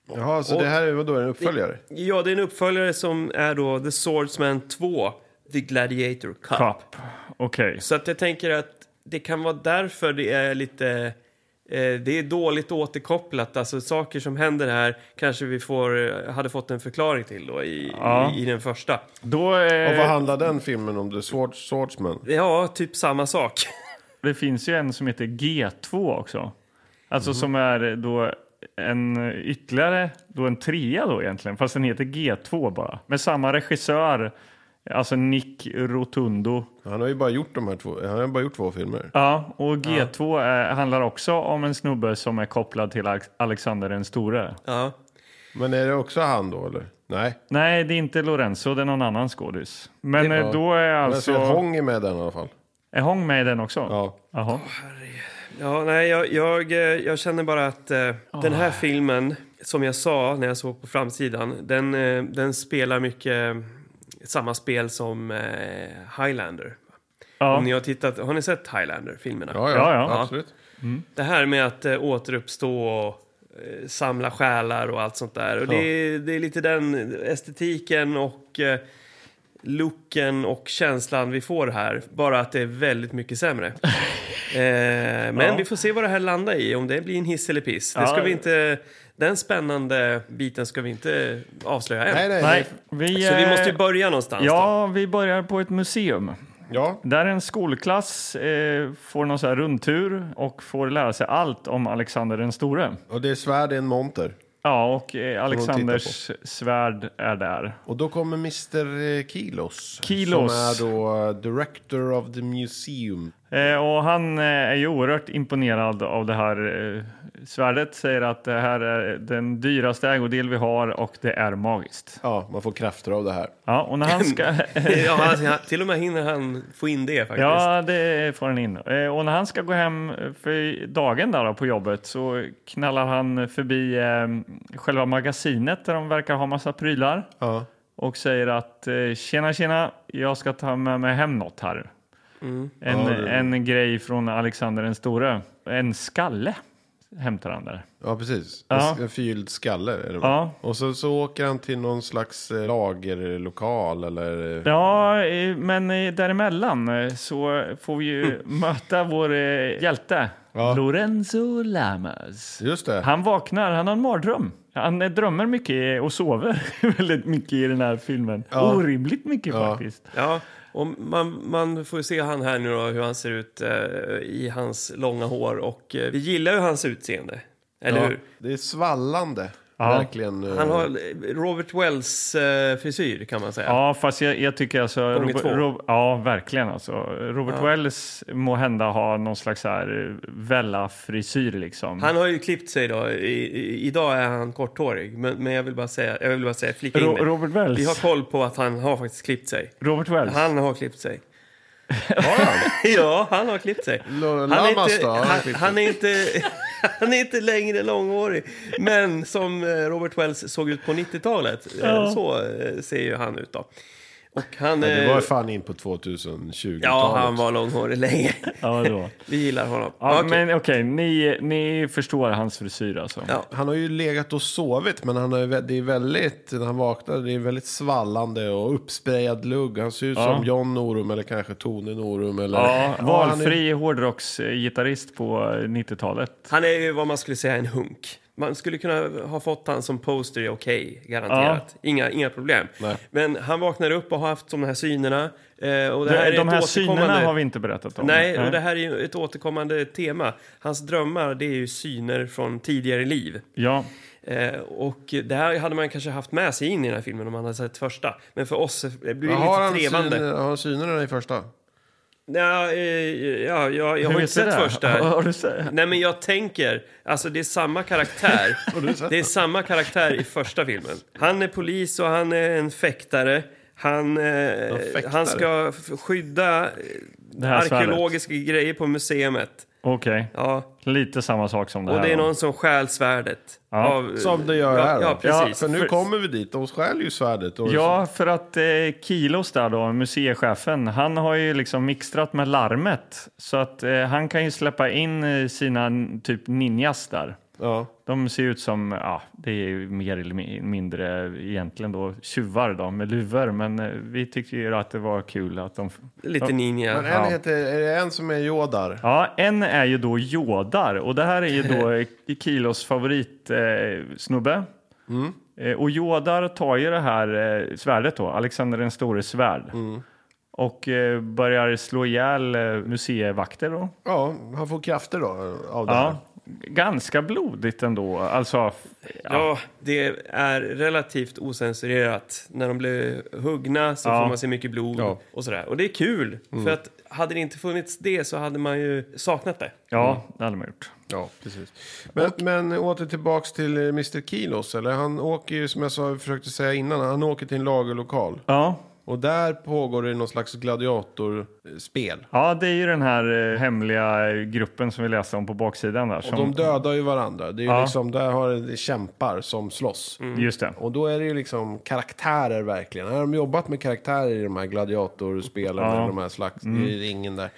Jaha, så det här är vadå, en uppföljare? Ja, det är en uppföljare som är då The Swordsman 2, The Gladiator Cup. Papp. Okej. Så att jag tänker att det kan vara därför det är lite Eh, det är dåligt återkopplat. Alltså saker som händer här kanske vi får, eh, hade fått en förklaring till då i, Ja. i, i den första. Då Och vad eh, handlar den filmen om? The Sword, Swordsman? Ja, typ samma sak. [laughs] det finns ju en som heter G2 också. Alltså Mhm. som är då en ytterligare, då en trea då egentligen, fast den heter G2 bara. Med samma regissör, alltså Nick Rotundo. Han har ju bara gjort de här två, han har ju bara gjort två filmer. Ja, och G2 Är, handlar också om en snubbe som är kopplad till Alex- Alexander den store. Ja. Men är det också han då eller? Nej. Nej, det är inte Lorenzo, det är någon annan skådis. Men eh, då är Alltså, alltså... Men Hong är med den i alla fall. Är Hong med i den också? Ja. Jaha. Ja, nej, jag, jag, eh, jag känner bara att eh, Ah. den här filmen, som jag sa när jag såg på framsidan, den, eh, den spelar mycket eh, samma spel som eh, Highlander. Ja. Om ni har, tittat, har ni sett Highlander-filmerna? Ja, ja, Ja, ja. absolut. Det här med att eh, återuppstå och eh, samla själar och allt sånt där. Och det, är, det är lite den estetiken och eh, looken och känslan vi får här. Bara att det är väldigt mycket [laughs] sämre. eh, men vi får se vad det här landar i, om det blir en hiss eller piss. Det ska Ja. vi inte, den spännande biten ska vi inte avslöja än. Nej, nej. Nej, nej. vi, Så vi eh, måste ju börja någonstans. då. Ja, vi börjar på ett museum. Ja, Där en skolklass eh, får någon så här rundtur och får lära sig allt om Alexander den store. och det är svärd i en monter. Ja, och eh, Alexanders tittar svärd är där. Och då kommer Mr. Kilos. Kilos. Som är då eh, Director of the Museum. Eh, och han eh, är ju oerhört imponerad av det här eh, svärdet. Säger att det här är den dyraste ägodel vi har och det är magiskt. Ja, man får krafter av det här. Ja, och när han ska... [laughs] [laughs] ja, han, han, till och med hinner han få in det faktiskt. Ja, det får han in. Eh, Och när han ska gå hem för dagen där då på jobbet så knallar han förbi eh, själva magasinet där de verkar ha massa prylar Ja. och säger att eh, tjena, tjena, jag ska ta med mig hem något här. En, en grej från Alexander den store. En skalle hämtar han där. Ja, precis. Ja. En, en förgylld skalle. Är det Ja. Och så, så åker han till någon slags eh, lagerlokal eller... eh, Ja, eh, men eh, däremellan eh, så får vi ju möta vår eh, hjälte. Lorenzo Lamas. Just det. Han vaknar, han har en mardröm. Han eh, drömmer mycket och sover [laughs] väldigt mycket i den här filmen. Orimligt mycket faktiskt. Ja, och man, man får ju se han här nu då, hur han ser ut eh, i hans långa hår. Och eh, vi gillar ju hans utseende, eller Ja. hur? Det är svallande. Verkligen. eh, Han har eh, Robert Wells eh, frisyr kan man säga. Ja, fast jag, jag tycker alltså... Gånger Robert, två. Rob, ja, verkligen alltså. Robert Wells må hända ha någon slags så här eh, Vella-frisyr liksom. Han har ju klippt sig idag. I, i, idag är han korthårig. Men, men jag vill bara säga, jag vill bara säga flika in Ro, det. Robert Vi har Wells? koll på att han har faktiskt klippt sig. Robert Wells? Han har klippt [laughs] sig. har han? Ja, han har klippt sig. Lo- Han är Lamas inte, då? Har han han, klippt han är inte, [laughs] han är inte längre långhårig. Men som eh, Robert Wells såg ut på 90-talet, eh, Ja. så eh, ser ju han ut då. Och han, Nej, Det var eh, ju fan in på 2020-talet. ja, han var långhårig [laughs] länge. Ja, [laughs] då. Vi gillar honom. Ja, Okej. men okej, ni, ni förstår hans frisyr alltså? Ja. Han har ju legat och sovit, men han har, ju vä- det är väldigt, när han vaknar, det är väldigt svallande och uppsprejad lugg. Han ser ut som John Norum eller kanske Tone Norum. Eller, Ja, han är- valfri hårdrocksgitarrist på 90-talet. Han är ju vad man skulle säga en hunk. Man skulle kunna ha fått han som poster i Okej, garanterat. Inga, inga problem. Nej. Men han vaknar upp och har haft de här synerna. eh, Och det här är De ett här återkommande- synerna har vi inte berättat om. Nej, och det här är ju ett återkommande tema. Hans drömmar, det är ju syner från tidigare liv. Ja, Eh, och det här hade man kanske haft med sig in i den här filmen om man hade sett första. Men för oss det blir Ja, har, det han lite trevande. syner, har han synerna i första? Ja, eh, ja, jag, jag Hur har inte vet du sett det? första. [laughs] Har- har du sett? Nej, men jag tänker, alltså det är samma [laughs] karaktär. det är samma karaktär i första filmen. Han är polis och han är en fäktare. Han, eh, fäktare? han ska f- skydda eh, det här svärdet. arkeologiska grejer på museet. Okej, Ja, lite samma sak som det Och här. det är då. någon som stjäl svärdet. Ja. Av, Som det gör ja, här då. Ja, precis. För nu För- kommer vi dit, de stjäl ju svärdet. Och Ja, för att eh, Kilos där då, museichefen, han har ju liksom mixtrat med larmet. Så att eh, han kan ju släppa in eh, sina n- typ ninjas där. Ja. De ser ut som, ja, det är ju mer eller mi- mindre egentligen då tjuvar då, med luvor. Men eh, vi tyckte ju att det var kul att de... Lite de ninja. Men en heter, är det en som är Jodar? Ja, en är ju då Jodar och det här är ju då Kilos favoritsnubbe. Eh, snubbe. Eh, och Jodar tar ju det här eh, svärdet då, Alexander den store svärd. Och eh, börjar slå ihjäl eh, museivakter då. Ja, han får krafter då av det Ja, här. ganska blodigt ändå. Alltså, f- Ja, det är relativt osensurerat. När de blir huggna så Ja. får man se mycket blod Ja. och sådär. Och det är kul, för att hade det inte funnits det så hade man ju saknat det. ja det hade man gjort. Ja, precis. Men, men åter tillbaks till eh, Mr. Kilos, eller? Han åker ju, som jag sa, försökte säga innan, han åker till en lagerlokal. Ja, Och där pågår det någon slags gladiatorspel. ja det är ju den här eh, hemliga gruppen som vi läste om på baksidan där. Som, De Mm. dödar ju varandra. Det är ju Ja. liksom, där har det kämpar som slåss. Mm. Just det. Och då är det ju liksom karaktärer verkligen. Här har de jobbat med karaktärer i de här gladiatorspelen, Ja. eller de här slags, Mm. i ringen där.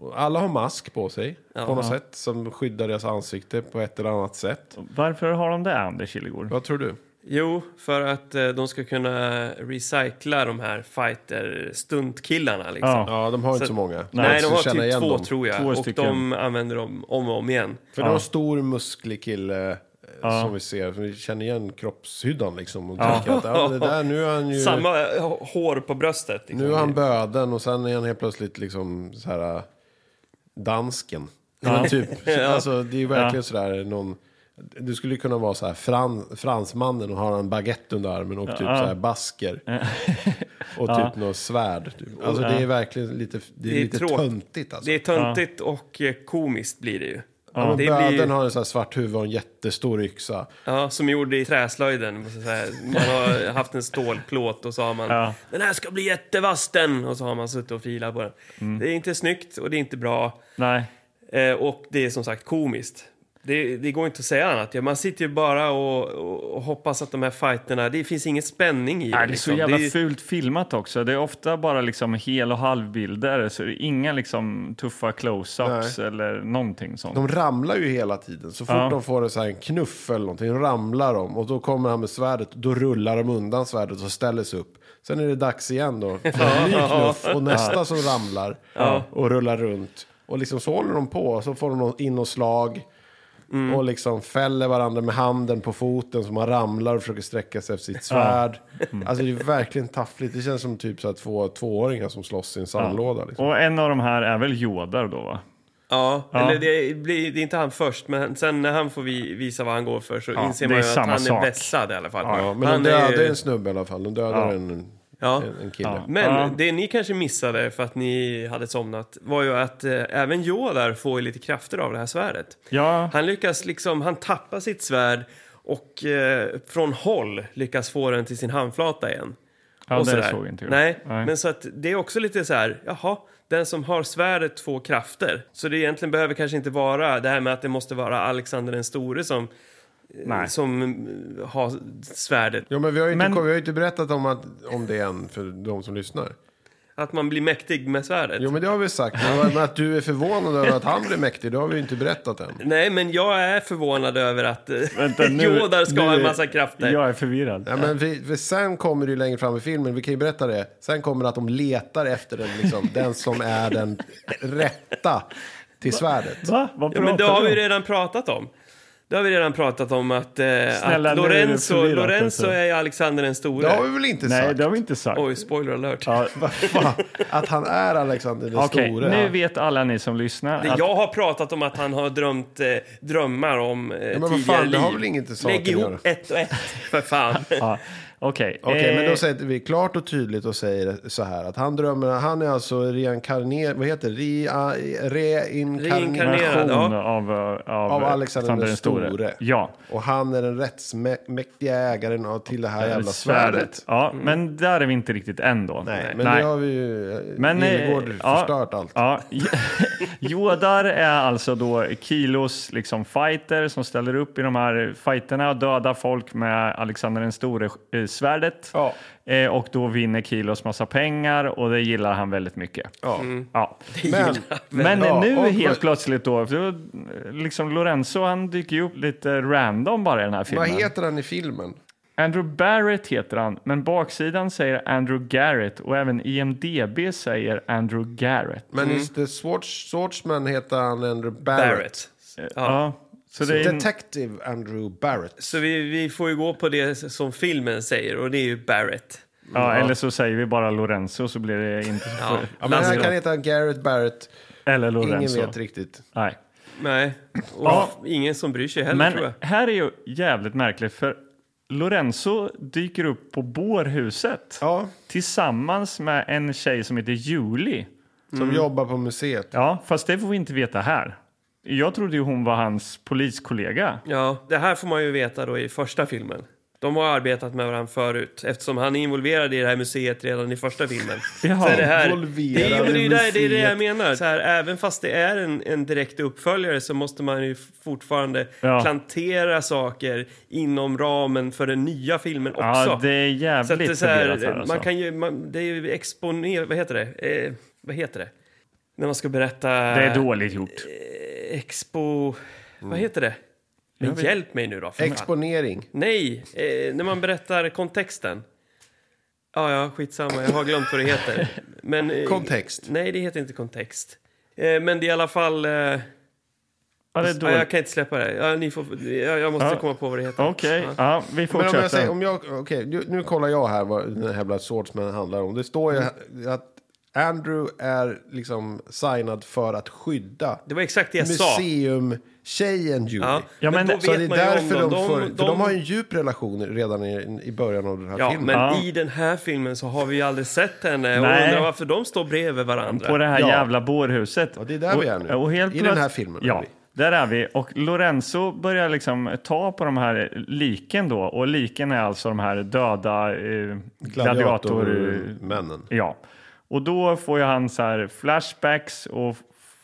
Och Alla har mask på sig, på något sätt, som skyddar deras ansikte på ett eller annat sätt. Varför har de det, Anders Killegård? Vad tror du? Jo, för att eh, de ska kunna recycla de här fighter-stuntkillarna. Liksom. Ja. Ja, de har inte Så- så många. Nej, Så de har känna typ igen två dem. tror jag. Två och stycken. de använder dem om och om igen. För det var en stor musklig kille eh, som vi ser. Vi känner igen kroppshyddan liksom. Och tänker att ja, men det där, nu är han [laughs] ju... Samma eh, hår på bröstet. Liksom. Nu är han böden och sen är han helt plötsligt liksom så här äh, dansken. [laughs] Men typ, alltså det är ju verkligen sådär någon... Du skulle ju kunna vara så här fran, fransmannen och ha en baguette under armen och typ så här basker. [laughs] Och typ något svärd. Typ. Alltså det är verkligen lite, det är Det är lite tråk- töntigt alltså. Det är töntigt och eh, komiskt blir det ju. Men Det böden blir, har en så här svart huvud och en jättestor yxa. ja, som gjorde i träslöjden. Så här, man [laughs] har haft en stålplåt och så har man Ja. den här ska bli jättevass den! Och så har man suttit och filat på den. Mm. Det är inte snyggt och det är inte bra. Nej. Eh, och det är som sagt komiskt. Det, det går inte att säga annat. Ja, man sitter ju bara och, och, och hoppas att de här fighterna, det finns ingen spänning i Nej, det är liksom. så jävla Det är- fult filmat också. Det är ofta bara liksom hel och halvbilder. Så det är inga liksom tuffa close-ups eller någonting sånt. De ramlar ju hela tiden. Så fort Ja. de får en, så här, en knuff eller någonting, då ramlar de. Och då kommer han med svärdet, då rullar de undan svärdet och ställer sig upp. Sen är det dags igen då, för en ny knuff och nästa som ramlar och rullar runt. Och liksom så håller de på, så får de någon in och slag. Mm. Och liksom fäller varandra med handen på foten så man ramlar och försöker sträcka sig efter sitt svärd. Mm. Alltså det är verkligen taffligt. Det känns som typ så här två tvååringar som slåss i en sandlåda. Liksom. Och en av de här är väl Jodar då, va? Ja, eller det, blir, det är inte han först, men sen när han får vi, visa vad han går för så inser det man är ju att samma han sak. är vässad i alla fall. Ja, men han de är dödar ju- en snubbe i alla fall. De dödar Ja. en, Ja. en, en kille. Eh, Men Ja. det ni kanske missade för att ni hade somnat var ju att eh, även Jodar får ju lite krafter av det här svärdet. Ja, Han lyckas liksom, han tappar sitt svärd och eh, från håll lyckas få den till sin handflata igen. ja och det sådär. såg inte jag. Nej, men så att det är också lite så här, jaha, den som har svärdet får krafter. Så det egentligen behöver kanske inte vara det här med att det måste vara Alexander den store som, eh, Nej. som eh, har svärdet. Ja, men vi har ju inte, Men- vi har ju inte berättat om, att, om det än för de som lyssnar. Att man blir mäktig med svärdet. Jo, men det har vi sagt. Men att du är förvånad över att han blir mäktig, det har vi ju inte berättat än. Nej, men jag är förvånad över att eh, [laughs] [laughs] Vänta, nu- Jodar ska nu ha en är- massa krafter. Jag är förvirrad. Ja, men vi, för sen kommer det ju längre fram i filmen, vi kan ju berätta det. Sen kommer det att de letar efter den, liksom, den som är den rätta till svärdet. Va? Vad Ja, pratar men det har vi du ju om? redan pratat om. Det har vi redan pratat om att, eh, Snälla, att nu är det Lorenzo, förvirrat, Lorenzo alltså. är ju Alexander den Det store. har vi väl inte Nej, sagt? det har vi inte sagt. Oj, spoiler alert. [laughs] Ja, Att han är Alexander [laughs] den Okej, store. nu vet alla ni som lyssnar Det- att Jag har pratat om att han har drömt eh, drömmar om eh, men vad tidigare fan, liv. det har väl inget till saken Lägg att göra. ihop ett och ett, för fan. [laughs] Ja, Okej, Okej, men eh, då sätter vi klart och tydligt och säger så här att han drömmer, han är alltså reinkarnerad, vad heter det, Rea- reinkarnerad Reinkarnerad. version ja. av, eh, av, av Alexander den store. Ja. Och han är den rättsmäktiga ägaren av, till det här jävla Svärdet. svärdet. Mm. Ja, men där är vi inte riktigt än då. Nej, men det har vi ju, Men, eh, Gillegård ja, förstört allt. Ja, [laughs] Jodar är alltså då Kilos liksom fighter som ställer upp i de här fighterna och dödar folk med Alexander den store eh, svärdet. Ja. Eh, och då vinner Kilos massa pengar och det gillar han väldigt mycket. Ja. Ja. Men, Men Ja, nu och- helt plötsligt då, för då, liksom Lorenzo han dyker ju upp lite random bara i den här filmen. vad heter han i filmen? Andrew Barrett heter han, men baksidan säger Andrew Garrett och även IMDB säger Andrew Garrett. Men is the Swords, Swordsman heter han Andrew Barrett. [laughs] Barrett. Ja. Så det är en, Detective Andrew Barrett. Så vi, vi får ju gå på det som filmen säger och det är ju Barrett. ja, eller så säger vi bara Lorenzo så blir det inte så Ja. Ja, men han kan heta Garrett Barrett. Eller Ingen Lorenzo. vet riktigt. Nej. Nej, och Ja. ingen som bryr sig heller tror jag. Men här är ju jävligt märkligt för Lorenzo dyker upp på bårhuset Ja, tillsammans med en tjej som heter Julie. som Mm. jobbar på museet. Ja, fast det får vi inte veta här. Jag trodde ju hon var hans poliskollega. Ja, det här får man ju veta då i första filmen. De har arbetat med varandra förut eftersom han är involverad i det här museet redan i första [laughs] filmen. Jaha, så är det, här, det, involverad är- men det, är ju där, det är det jag museet. menar. Så här, även fast det är en, en direkt uppföljare så måste man ju fortfarande Ja. plantera saker inom ramen för den nya filmen också. Ja, det är Så att det, är jävligt så här, förvirrat här alltså. man kan ju, man, det är ju exponer... Vad heter det? Eh, vad heter det? När man ska berätta... Det är dåligt gjort. Expo... Vad heter det? Men hjälp mig nu då. för fan. Exponering. Nej, eh, när man berättar kontexten. Ja, ja, skitsamma. Jag har glömt vad det heter. Men, eh, Kontext. Nej, det heter inte kontext. Eh, men det är i alla fall... Eh, ja, Ja, det är jag dåligt. kan inte släppa det. Ja, ni får, jag, jag måste Ja. komma på vad det heter. Okej, Ja. ja, vi Men om fortsätter. jag säger, om jag, okej, nu, nu kollar jag här vad den här jävla Swordsman handlar om. Det står ju Mm. att Andrew är liksom signad för att skydda Det var exakt det jag sa. museumtjejen Julie. Ja, Ja, men men, det- då Så vet det är man ju om därför dem. de, får, för de har ju en djup relation redan i, i början av den här Ja, filmen. men Ja. i den här filmen så har vi ju aldrig sett henne och Nej. undrar varför de står bredvid varandra. På det här Ja. jävla bårhuset. Ja, det är där vi är nu. Och helt I den plöts- här filmen är Ja, vi. där är vi. Och Lorenzo börjar liksom ta på de här liken då. Och liken är alltså de här döda eh, gladiator... Gladiatormännen. Ja. Och då får ju han så här flashbacks och f-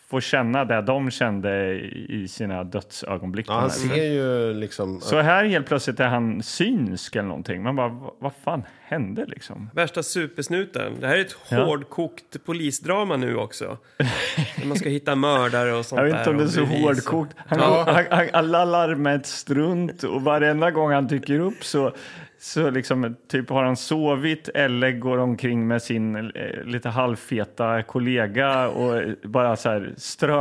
får känna det de kände i i sina dödsögonblick. Ja, han ser ju liksom... Så här helt plötsligt är han synsk eller någonting. Man bara, "Va- vad fan hände liksom? Värsta supersnuten. Det här är ett Ja. hårdkokt polisdrama nu också. När man ska hitta mördare och sånt Jag där. vet inte om det är och så bevis. hårdkokt. Han, Ja. han, han, han lallar med ett strunt och varenda gång han dyker upp så, så liksom, typ har han sovit eller går omkring med sin eh, lite halvfeta kollega och eh, bara så här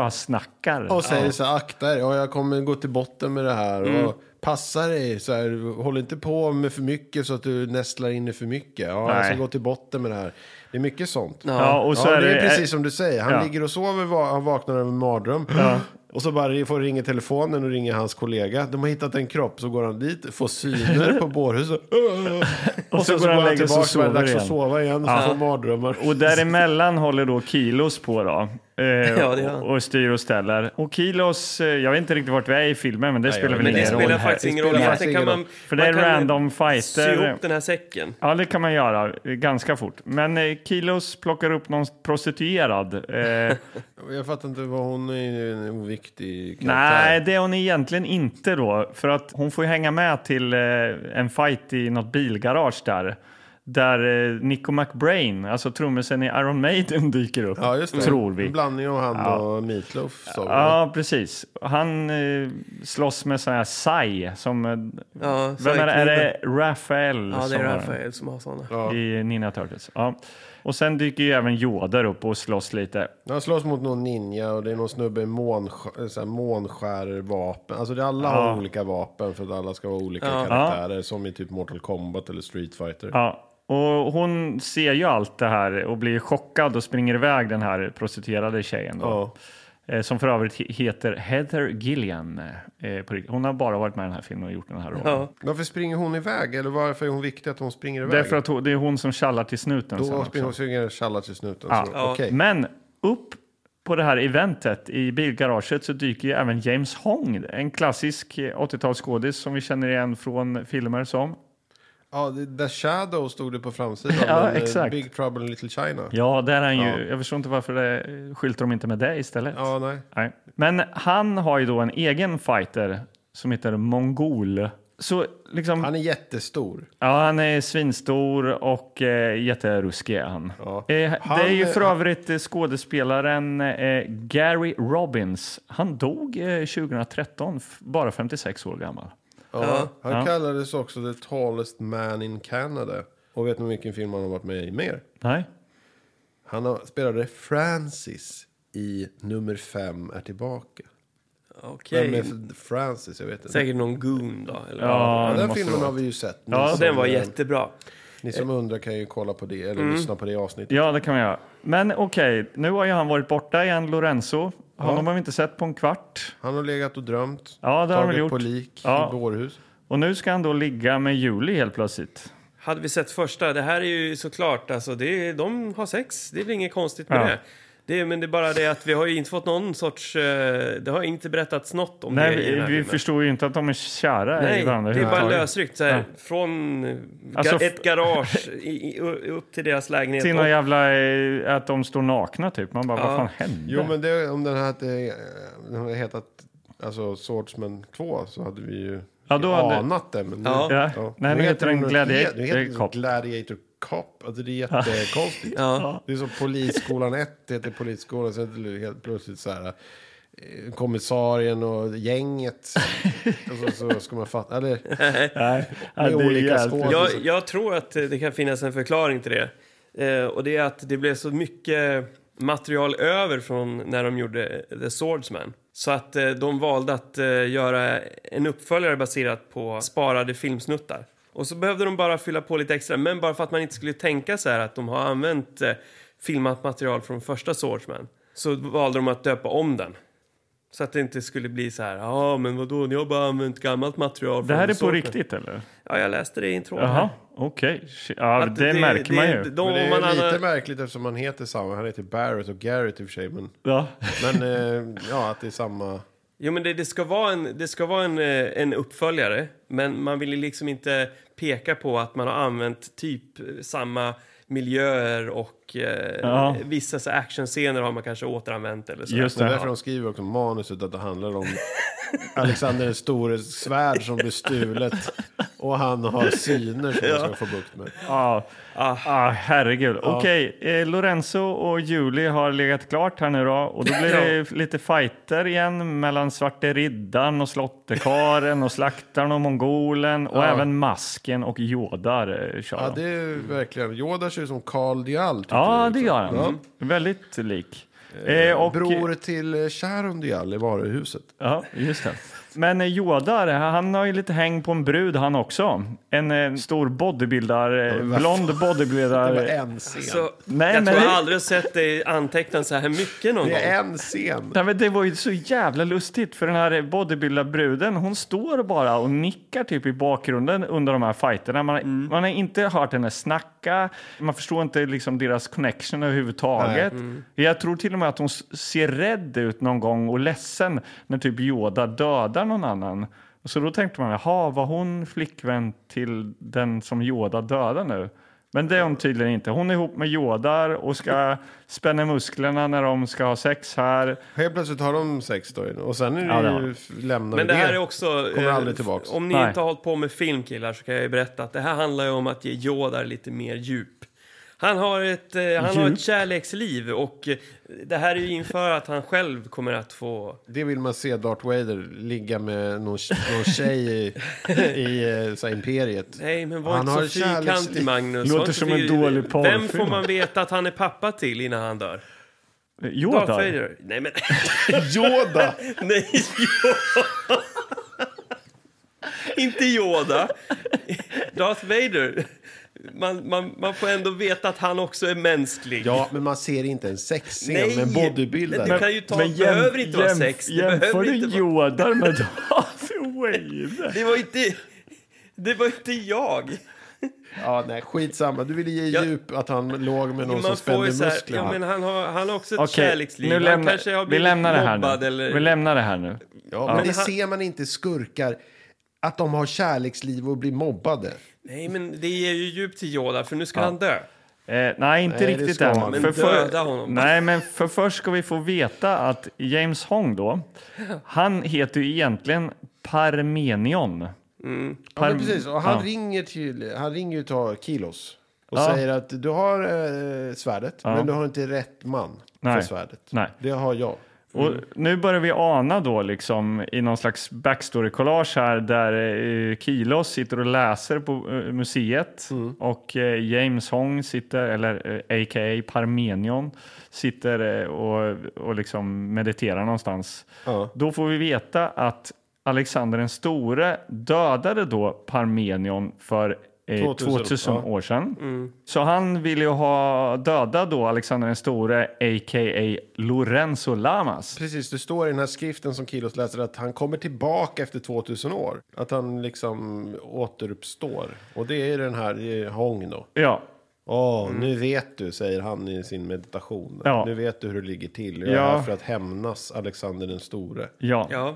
strösnackar. Och säger så här, akta er, ja, jag kommer gå till botten med det här. Mm. Och passa dig, så här, håll inte på med för mycket så att du nästlar in i för mycket. Ja, jag ska Nej. gå till botten med det här. Det är mycket sånt. Ja, Ja, och så eh, är det det, är precis som du säger. Han ja. ligger och sover, va- han vaknar över en mardröm. Och så bara får ringa telefonen och ringer hans kollega. De har hittat en kropp, så går han dit, får syner [laughs] på bårhuset. och, så sen går han lägger sig och tillbaka, så är det sover dags att igen. sova igen. Så får mardrömmar. Och däremellan håller då Kilos på då. Eh, Ja, det gör han. och, och styr och ställer. Och Kilos, eh, jag vet inte riktigt vart vi är i filmen men det spelar väl Men det ingen roll spelar här. faktiskt ingen Det roll. spelar Egentligen kan faktiskt man, ingen För det är man kan random Sy fighter. ihop den här säcken. Ja, det kan man göra eh, ganska fort. Men eh, Kilos plockar upp någon prostituerad. [laughs] Eh, Jag fattar inte vad hon är, en oviktig karaktär. nej, det är hon egentligen inte då. För att hon får ju hänga med till eh, en fight i något bilgarage där. Där eh, Nico McBrain, alltså trummisen i Iron Maiden, [laughs] dyker upp. Ja, just det. Tror vi. En blandning av han och Meatloaf. sa vi. Ja, precis. Han eh, slåss med sån här Sai som... eh, Ja, så vem är det? Är kniven. det Raphael? Ja, det som är har den? Rafael som har såna. I Ninja Turtles. Ja. Och sen dyker ju även Yoda upp och slåss lite. Han slåss mot någon ninja och det är någon snubbe i månsk- så här månskärvapen. Alltså det alla har olika vapen för att alla ska vara olika karaktärer. Som i typ Mortal Kombat eller Street Fighter. Ja, och hon ser ju allt det här och blir chockad och springer iväg den här prostituerade tjejen. Då. Ja. Eh, Som för övrigt he- heter Heather Gillian. eh, på riktigt. Hon har bara varit med i den här filmen och gjort den här rollen. Ja. Varför springer hon iväg? Eller varför är hon viktig att hon springer iväg? Därför att hon, det är hon som tjallar till snuten. sen Då också. springer hon springer tjallar till snuten. Ja. Mm. Så, Ja. okej. Men upp på det här eventet i bilgaraget så dyker ju även James Hong, en klassisk eh, 80-talsskådis som vi känner igen från filmer som. Ja, det- The Shadow stod det på framsidan. Ja, men, eh, exakt. Big Trouble in Little China. Ja, där är han ju. Ja. Jag förstår inte varför det, skyltar de inte med det istället. Ja, nej. Nej. Men han har ju då en egen fighter som heter Mongol Så liksom, Han är jättestor. Ja, han är svinstor och eh, jätteruskig är han. Ja. Eh, Han- det är ju för övrigt eh, skådespelaren eh, Gary Robbins. Han dog eh, 2013, f- bara 56 år gammal. Ja. Han kallades också the tallest man in Canada. Och vet ni vilken film han har varit med i mer? Nej? Han har- spelade Francis i nummer fem är tillbaka. Okej. Vem är f- Francis? Jag vet inte. Säkert någon goon då. Eller? Ja, Den det där måste filmen det har vara. vi ju sett. Ni, Ja, Och som, den var eh, jättebra. ni som undrar kan ju kolla på det eller Mm. lyssna på det avsnittet. ja, det kan man göra. Men okej, nu har ju han varit borta igen, Lorenzo. Honom har vi inte sett på en kvart. Han har legat och drömt. Ja, det har han tagit väl gjort. på lik Ja. i bårhus. Och nu ska han då ligga med Julie helt plötsligt. Hade vi sett första, det här är ju såklart, alltså det, är- de har sex, det är väl inget konstigt med Ja. det. det. är- Men det är bara det att vi har ju inte fått någon sorts, eh, det har inte berättats något om Nej, det i den vi, här vi filmen. förstår ju inte att de är kära Nej, i varandra. det är bara överhuvudtaget. lösryckt så här, från eh, Alltså, ga- ett garage i, i, upp till deras lägenhet. Till någon Och- jävla, eh, att de står nakna typ. Man bara, vad fan hände? Jo, men det, om den här hade, eh, den hade hetat alltså, Swordsman 2 så hade vi ju Ja, då hade- anat det. Men nu, Ja. Ja. Nej, nu heter den något Gladiator helt- nu heter den Cop. Gladiator Cop. Alltså, det är [laughs] jättekonstigt. Ja. Det är som Polisskolan 1 heter Polisskolan. Sen heter det helt plötsligt så här eh, kommissarien [laughs] och gänget. och så, så ska man fatta. Eller, Nej, ja, det är olika jävligt- skådespelare. Jag, jag tror att eh, det kan finnas en förklaring till det. Eh, och det är att det blev så mycket material över från när de gjorde eh, The Swordsman. Så att eh, de valde att eh, göra en uppföljare baserat på sparade filmsnuttar. Och så behövde de bara fylla på lite extra, men bara för att man inte skulle tänka så här att de har använt eh, filmat material från första Swordsman. Så valde de att döpa om den. Så att det inte skulle bli så här, ja ah, men vadå, ni har bara använt gammalt material från Det här är på Swordsman." riktigt eller? Ja, jag läste det i en tråd. här. Jaha, okej. Shit, Ja, Att det, märker man ju. De, men det är man ju lite använder- märkligt eftersom man heter samma. Han heter Barrett och Garrett i och för sig. Men, [laughs] ja. men eh, ja, att det är samma. Jo, men det, det ska vara, en, det ska vara en, eh, en uppföljare, men man vill ju liksom inte peka på att man har använt typ eh, samma miljöer och eh, Ja. vissa så här actionscener har man kanske återanvänt eller så. Just Det är därför det. de skriver också manuset att det handlar [laughs] om Alexander den stores svärd som blir stulet. Och han har syner som han ska få bukt med. Ja, ah, herregud. Okej, eh, Lorenzo och Julie har legat klart här nu då. Och då [laughs] blir det lite fighter igen mellan Svarte Riddaren och Slottekaren och Slaktaren och Mongolen och även Masken och Jodar eh, kör Ja, de. det är ju verkligen. Yoda ser ut som Carl Dial. tycker Ja, jag, det liksom. gör han. Mm. Väldigt lik. Eh, och, Bror till eh, Sharon Dial i varuhuset. Ja, just det. Men eh, Yoda, det här, han har ju lite häng på en brud han också. En eh, stor bodybuildar, eh, men vad blond Det var bodybuildar. en scen. Så, Nej, jag men- tror jag aldrig sett dig anteckna så här mycket någon Det gång. är en scen. Nej, men det var ju så jävla lustigt för den här bodybuildarbruden hon står bara och nickar typ i bakgrunden under de här fighterna. Man, man har inte hört henne snacka, man förstår inte liksom deras connection överhuvudtaget. Jag tror till och med att hon s- ser rädd ut någon gång och ledsen när typ Yoda dödar någon annan. Så då tänkte man, jaha, var hon flickvän till den som Yoda dödar nu? Men det är hon tydligen inte. Hon är ihop med Yodar och ska spänna musklerna när de ska ha sex här. Helt plötsligt har de sex då. Och sen är Ja, det det har ju, de. f- lämnar Men vi det här det. är också... Kommer eh, aldrig tillbaks. Om ni Nej. inte har hållit på med film killar så kan jag ju berätta att det här handlar ju om att ge Yoda lite mer djup. Han har ett, eh, han har Djup? ett kärleksliv och eh, det här är ju inför att han själv kommer att få... Det vill man se Darth Vader ligga med någon, någon tjej i, i eh, så här, Imperiet. Nej, men var Han har inte så kärleksliv. fyrkantig, Magnus. Låter Var inte som så en fyr- dålig porrfilm. Vem får man veta att han är pappa till innan han dör? Darth Yoda? Vader? Nej, men... Yoda! Nej, Yoda! Inte Yoda. Darth Vader. Man, man, man får ändå veta att han också är mänsklig. Ja, men man ser inte en sexscen med en bodybuildare. Men du kan ju ta, det behöver inte vara sex. Det jämför behöver du inte vara... Yoda med Darth [laughs] Vader? Det var inte... Det var inte jag. Ja, nej, skitsamma. Du ville ge Ja. djup att han låg med någon Man får som spände ju så här, musklerna. ja, men han, har, han har också ett Okej, kärleksliv. nu han lämnar, kanske har vi blivit lämnar det här mobbad nu. eller... Vi lämnar det här nu. Eh, Ja, men det ser man inte i skurkar. Att de har kärleksliv och blir mobbade. Nej, men det ger ju djup till Yoda, för nu ska han dö. Eh, nej, inte Nej, det riktigt ska än. man. Men för, döda honom. Nej, men för först ska vi få veta att [laughs] James Hong då, han heter ju egentligen Parmenion. Ja, men Perm- precis. Och han, Ja. ringer till, han ringer ju till Kilos och Ja. säger att du har eh, svärdet, men du har inte rätt man för Nej. svärdet. Nej. Det har jag. Och Mm. nu börjar vi ana då liksom i någon slags backstory-collage här där eh, Kilos sitter och läser på eh, museet Mm. och eh, James Hong sitter, eller eh, a.k.a. Parmenion, sitter eh, och, och liksom mediterar någonstans. Ja. Då får vi veta att Alexander den store dödade då Parmenion för eh, 2000, 2000, ja. år sedan. Mm. Så han ville ju ha dödat då Alexander den store, a.k.a. Lorenzo Lamas. Precis, det står i den här skriften som Kilos läser att han kommer tillbaka efter 2000 år. Att han liksom återuppstår. Och det är ju den här eh, Hong då. Ja, Åh, nu vet du, säger han i sin meditation. Mm. Ja. Nu vet du hur det ligger till. Jag är Ja. här för att hämnas Alexander den store. ja. Ja.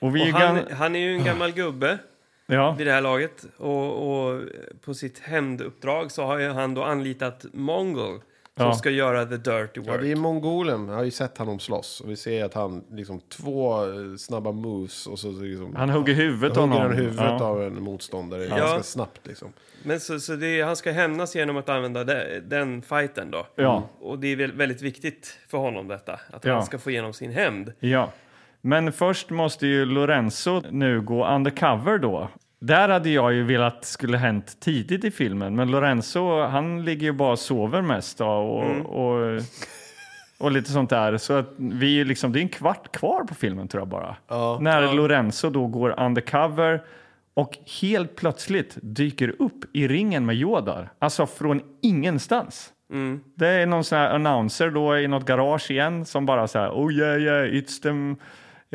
Och vi Och är han, gan- han är ju en gammal gubbe ja. vid det här laget. Och, och på sitt hämnduppdrag så har ju han då anlitat Mongol som Ja. ska göra the dirty Ja, work. det är mongolen. Jag har ju sett honom slåss. Och vi ser att han liksom två eh, snabba moves och så liksom... Han hugger huvudet av hugger någon. han huvudet ja. av en motståndare ganska snabbt liksom. Men så, så det är, han ska hämnas genom att använda de, den fighten då. Ja. Och det är väl väldigt viktigt för honom detta. Att Ja. han ska få igenom sin hämnd. Ja. Men först måste ju Lorenzo nu gå undercover då. Där hade jag ju velat skulle hänt tidigt i filmen, men Lorenzo han ligger ju bara och sover mest då, och, Mm. och, och lite sånt där. Så att vi är ju liksom, det är en kvart kvar på filmen tror jag bara. När Lorenzo då går undercover och helt plötsligt dyker upp i ringen med Jodar. Alltså från ingenstans. Det är någon sån här announcer då i något garage igen som bara så här oh yeah yeah it's the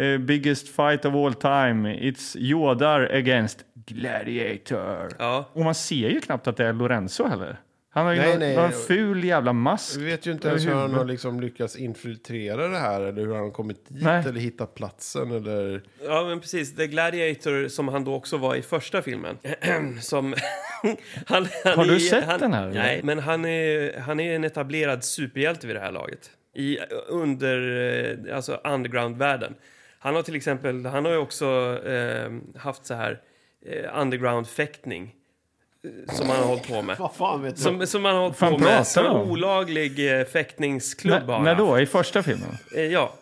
eh, biggest fight of all time. It's Jodar against Gladiator. Ja. Och man ser ju knappt att det är Lorenzo heller. Han har ju Nej, någon, nej. någon ful jävla mask. Vi vet ju inte ens hur han har liksom lyckats infiltrera det här eller hur han har kommit dit Nej. eller hittat platsen eller... Ja, men precis. The Gladiator, som han då också var i första filmen. [clears throat] som, [laughs] han, han Har du är- sett han, den här, eller? Nej, men han är, han är en etablerad superhjälte vid det här laget. I under, eh, alltså underground-världen. Han har till exempel, han har ju också eh, haft så här eh, underground-fäktning. eh, Som han har hållit på med. [laughs] Vad fan vet du? Som, som han har hållit Fan på med. pratar Som du en om? olaglig eh, fäktningsklubb har när, han när haft. då? I första filmen? Eh, Ja,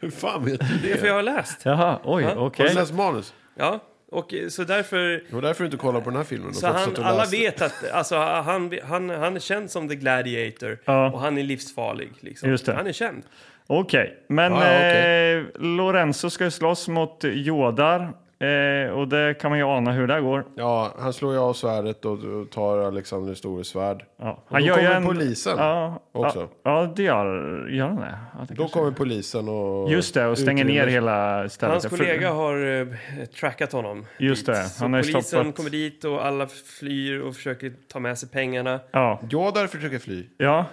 Hur fan vet du det är för det? jag har läst. Jaha, oj, Ja. okej. Har du läst manus? Ja, och eh, så därför... Det var därför du inte kollade på den här filmen. Så han, alla vet att alltså, han, han, han är känd som the gladiator Ja. och han är livsfarlig. Liksom. Just det. Han är känd. Okej, men Ja, ja, okej. Eh, Lorenzo ska ju slåss mot Jodar eh, och det kan man ju ana hur det går. Ja, han slår ju av svärdet och och tar Alexander den store svärd. Ja. Och då kommer polisen ja, också. Ja, ja, det gör, gör han det. Ja, det Då kanske- kommer polisen och... Just det, och stänger utrymmer- ner hela stället. Hans För- kollega har eh, trackat honom. Just dit. det, Så han har ju polisen stoppat- kommer dit och alla flyr och försöker ta med sig pengarna. Ja, Jodar försöker fly. ja.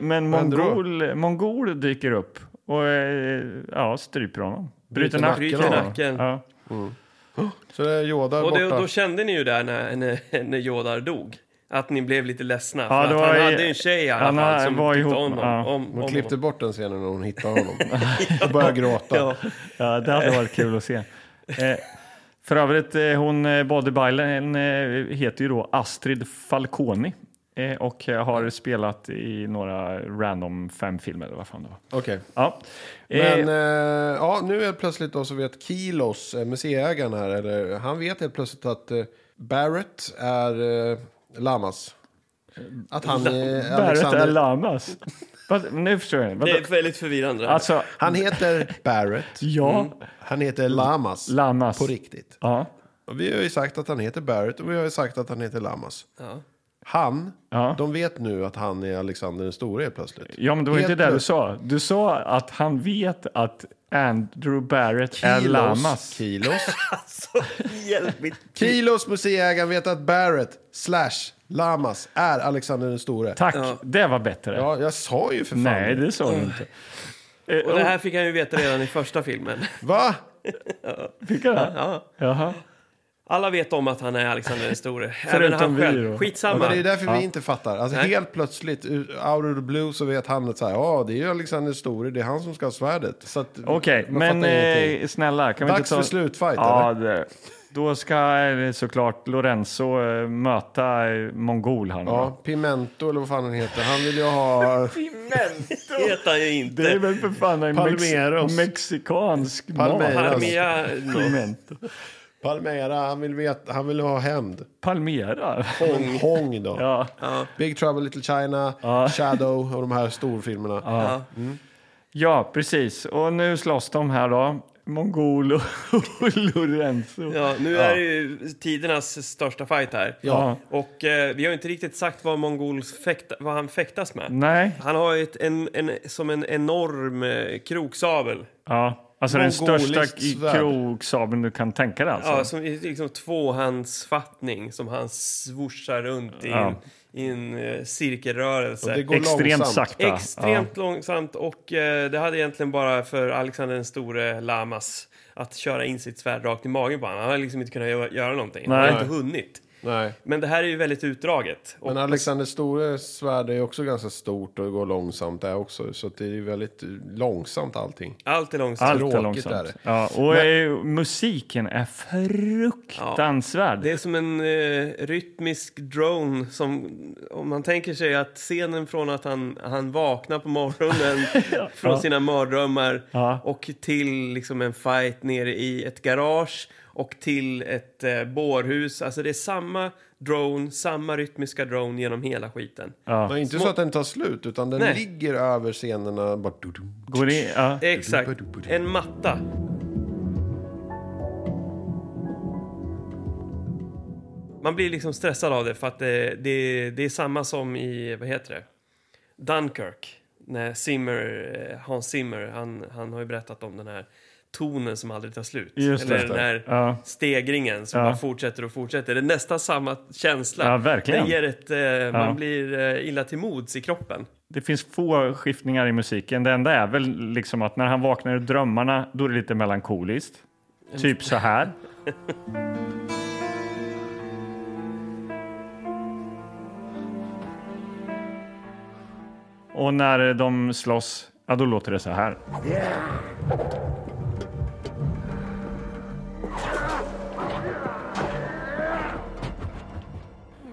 men Mm. händer då? mongol, mongol dyker upp och eh, ja, stryper honom. Bryter Bryter nacken. nacken Ryker av i honom. nacken. Ja. Så det är Jodar Och borta. det, då kände ni ju där när, när, [laughs] när Jodar dog. Att ni blev lite ledsna. Ja, för det att var han i- hade ju en tjej i alla han fall som var tyckte ihop- om honom. ja. Om, om, Hon honom. klippte bort den scenen när hon [laughs] hittade honom. Och började gråta. Ja. Ja, det hade varit kul att se. Eh, för övrigt, eh, hon eh, bodybilen eh, heter ju då Astrid Falconi eh, och eh, har spelat i några random fem filmer eller vad fan det var. Okej. Ja. Eh, Men eh, ja, nu är plötsligt då så vet Kilos, eh, museiägaren här, eller, han vet helt plötsligt att eh, Barrett är eh, Lamas. Att han är Barrett är Alexander. Lamas. Vad- Nu förstår jag. Vad- Det är väldigt förvirrande. Alltså, Han heter Barrett. ja, Han heter Lamas. Lamas. Mm. På riktigt. Ja, Och vi har ju sagt att han heter Barrett och vi har ju sagt att han heter Lamas. Ja. Han, Ja. de vet nu att han är Alexander den store helt plötsligt. ja, men det var Helt inte det du plötsligt. sa. Du sa att han vet att Andrew Barrett är Lamas. Kilos. [laughs] Hjälp mitt Kilos museiägaren vet att Barrett slash Lamas är Alexander den store. Tack, Ja. det var bättre. Ja, Mm. jag sa ju för fan Nej, det. det sa du inte. Eh, Och det här fick han ju veta redan i första filmen. Va? Fick jag det? Ja. Jaha. Alla vet om att han är Alexander den store. Även han vi själv. då. Ja, men Skitsamma. det är därför Ja. vi inte fattar. Alltså Nej. helt plötsligt, ut- out of the blue, så vet han att så här, ja, det är ju Alexander den store, det är han som ska ha svärdet. Så att Okej, man men fattar ingenting. eh, snälla, kan vi Dags inte ta... för slutfight, Ja, det... Då ska eh, såklart Lorenzo eh, möta eh, mongol här nu. Ja, Pimento eller vad fan han heter. Han vill [laughs] ju ha vet han ju inte. Det är väl för fan en mex- Palmeros. mexikansk Palmeiras. mat. Parmea, Palmento. Palmera, han vill, veta, han vill ha hämnd. Palmera. Hong, Hong då. Ja. Big Trouble, Little China, Shadow och de här storfilmerna. ja, precis. Och nu slåss de här då. Mongol och och [laughs] Lorenzo. ja, nu är det ju tidernas största fight här. Ja. Och eh, vi har ju inte riktigt sagt vad Mongols fäkta, vad han fäktas med. Nej. Han har ju ett, en, en, som en enorm eh, kroksabel. Ja. Alltså den Mongoliskt största k- svärd. krogsabeln du kan tänka dig alltså. Ja, som är liksom tvåhandsfattning som han swooshar runt i Ja. en, i en eh, cirkelrörelse. Och det går Extremt långsamt. sakta. Extremt långsamt och eh, det hade egentligen bara för Alexander den store Lamas att köra in sitt svärd rakt i magen på honom. Han hade liksom inte kunnat göra, göra någonting. Han Nej. hade inte hunnit. Nej. Men det här är ju väldigt utdraget. Och Men Alexander Store svärd är också ganska stort och går långsamt där också. Så att det är ju väldigt långsamt allting. allt är Ja. långsamt. Allt är Tråkigt långsamt. är det. Ja, och eh, musiken är fruktansvärd. Det är som en eh, rytmisk drone som, om man tänker sig att scenen från att han, han vaknar på morgonen från sina mardrömmar Ja. och till liksom en fight nere i ett garage och till ett eh, bårhus. Alltså det är samma drone, samma rytmiska drone genom hela skiten. Det är inte så att den tar slut, utan den Nej. ligger över scenerna. Bara dudum. Går in, ja. Exakt, en matta. Man blir liksom stressad av det för att det, det, det är samma som i, vad heter det, Dunkirk. När Zimmer, eh, Hans Zimmer, han, han har ju berättat om den här tonen som aldrig tar slut. Just Eller det. den här Ja. stegringen som Ja. bara fortsätter och fortsätter. Det är nästan samma känsla. Ja, verkligen. Det ger ett, eh, Man blir eh, illa till mods i kroppen. Det finns få skiftningar i musiken. Det enda är väl liksom att när han vaknar ur drömmarna, då är det lite melankoliskt. Typ så här. Och när de slåss, ja då låter det så här.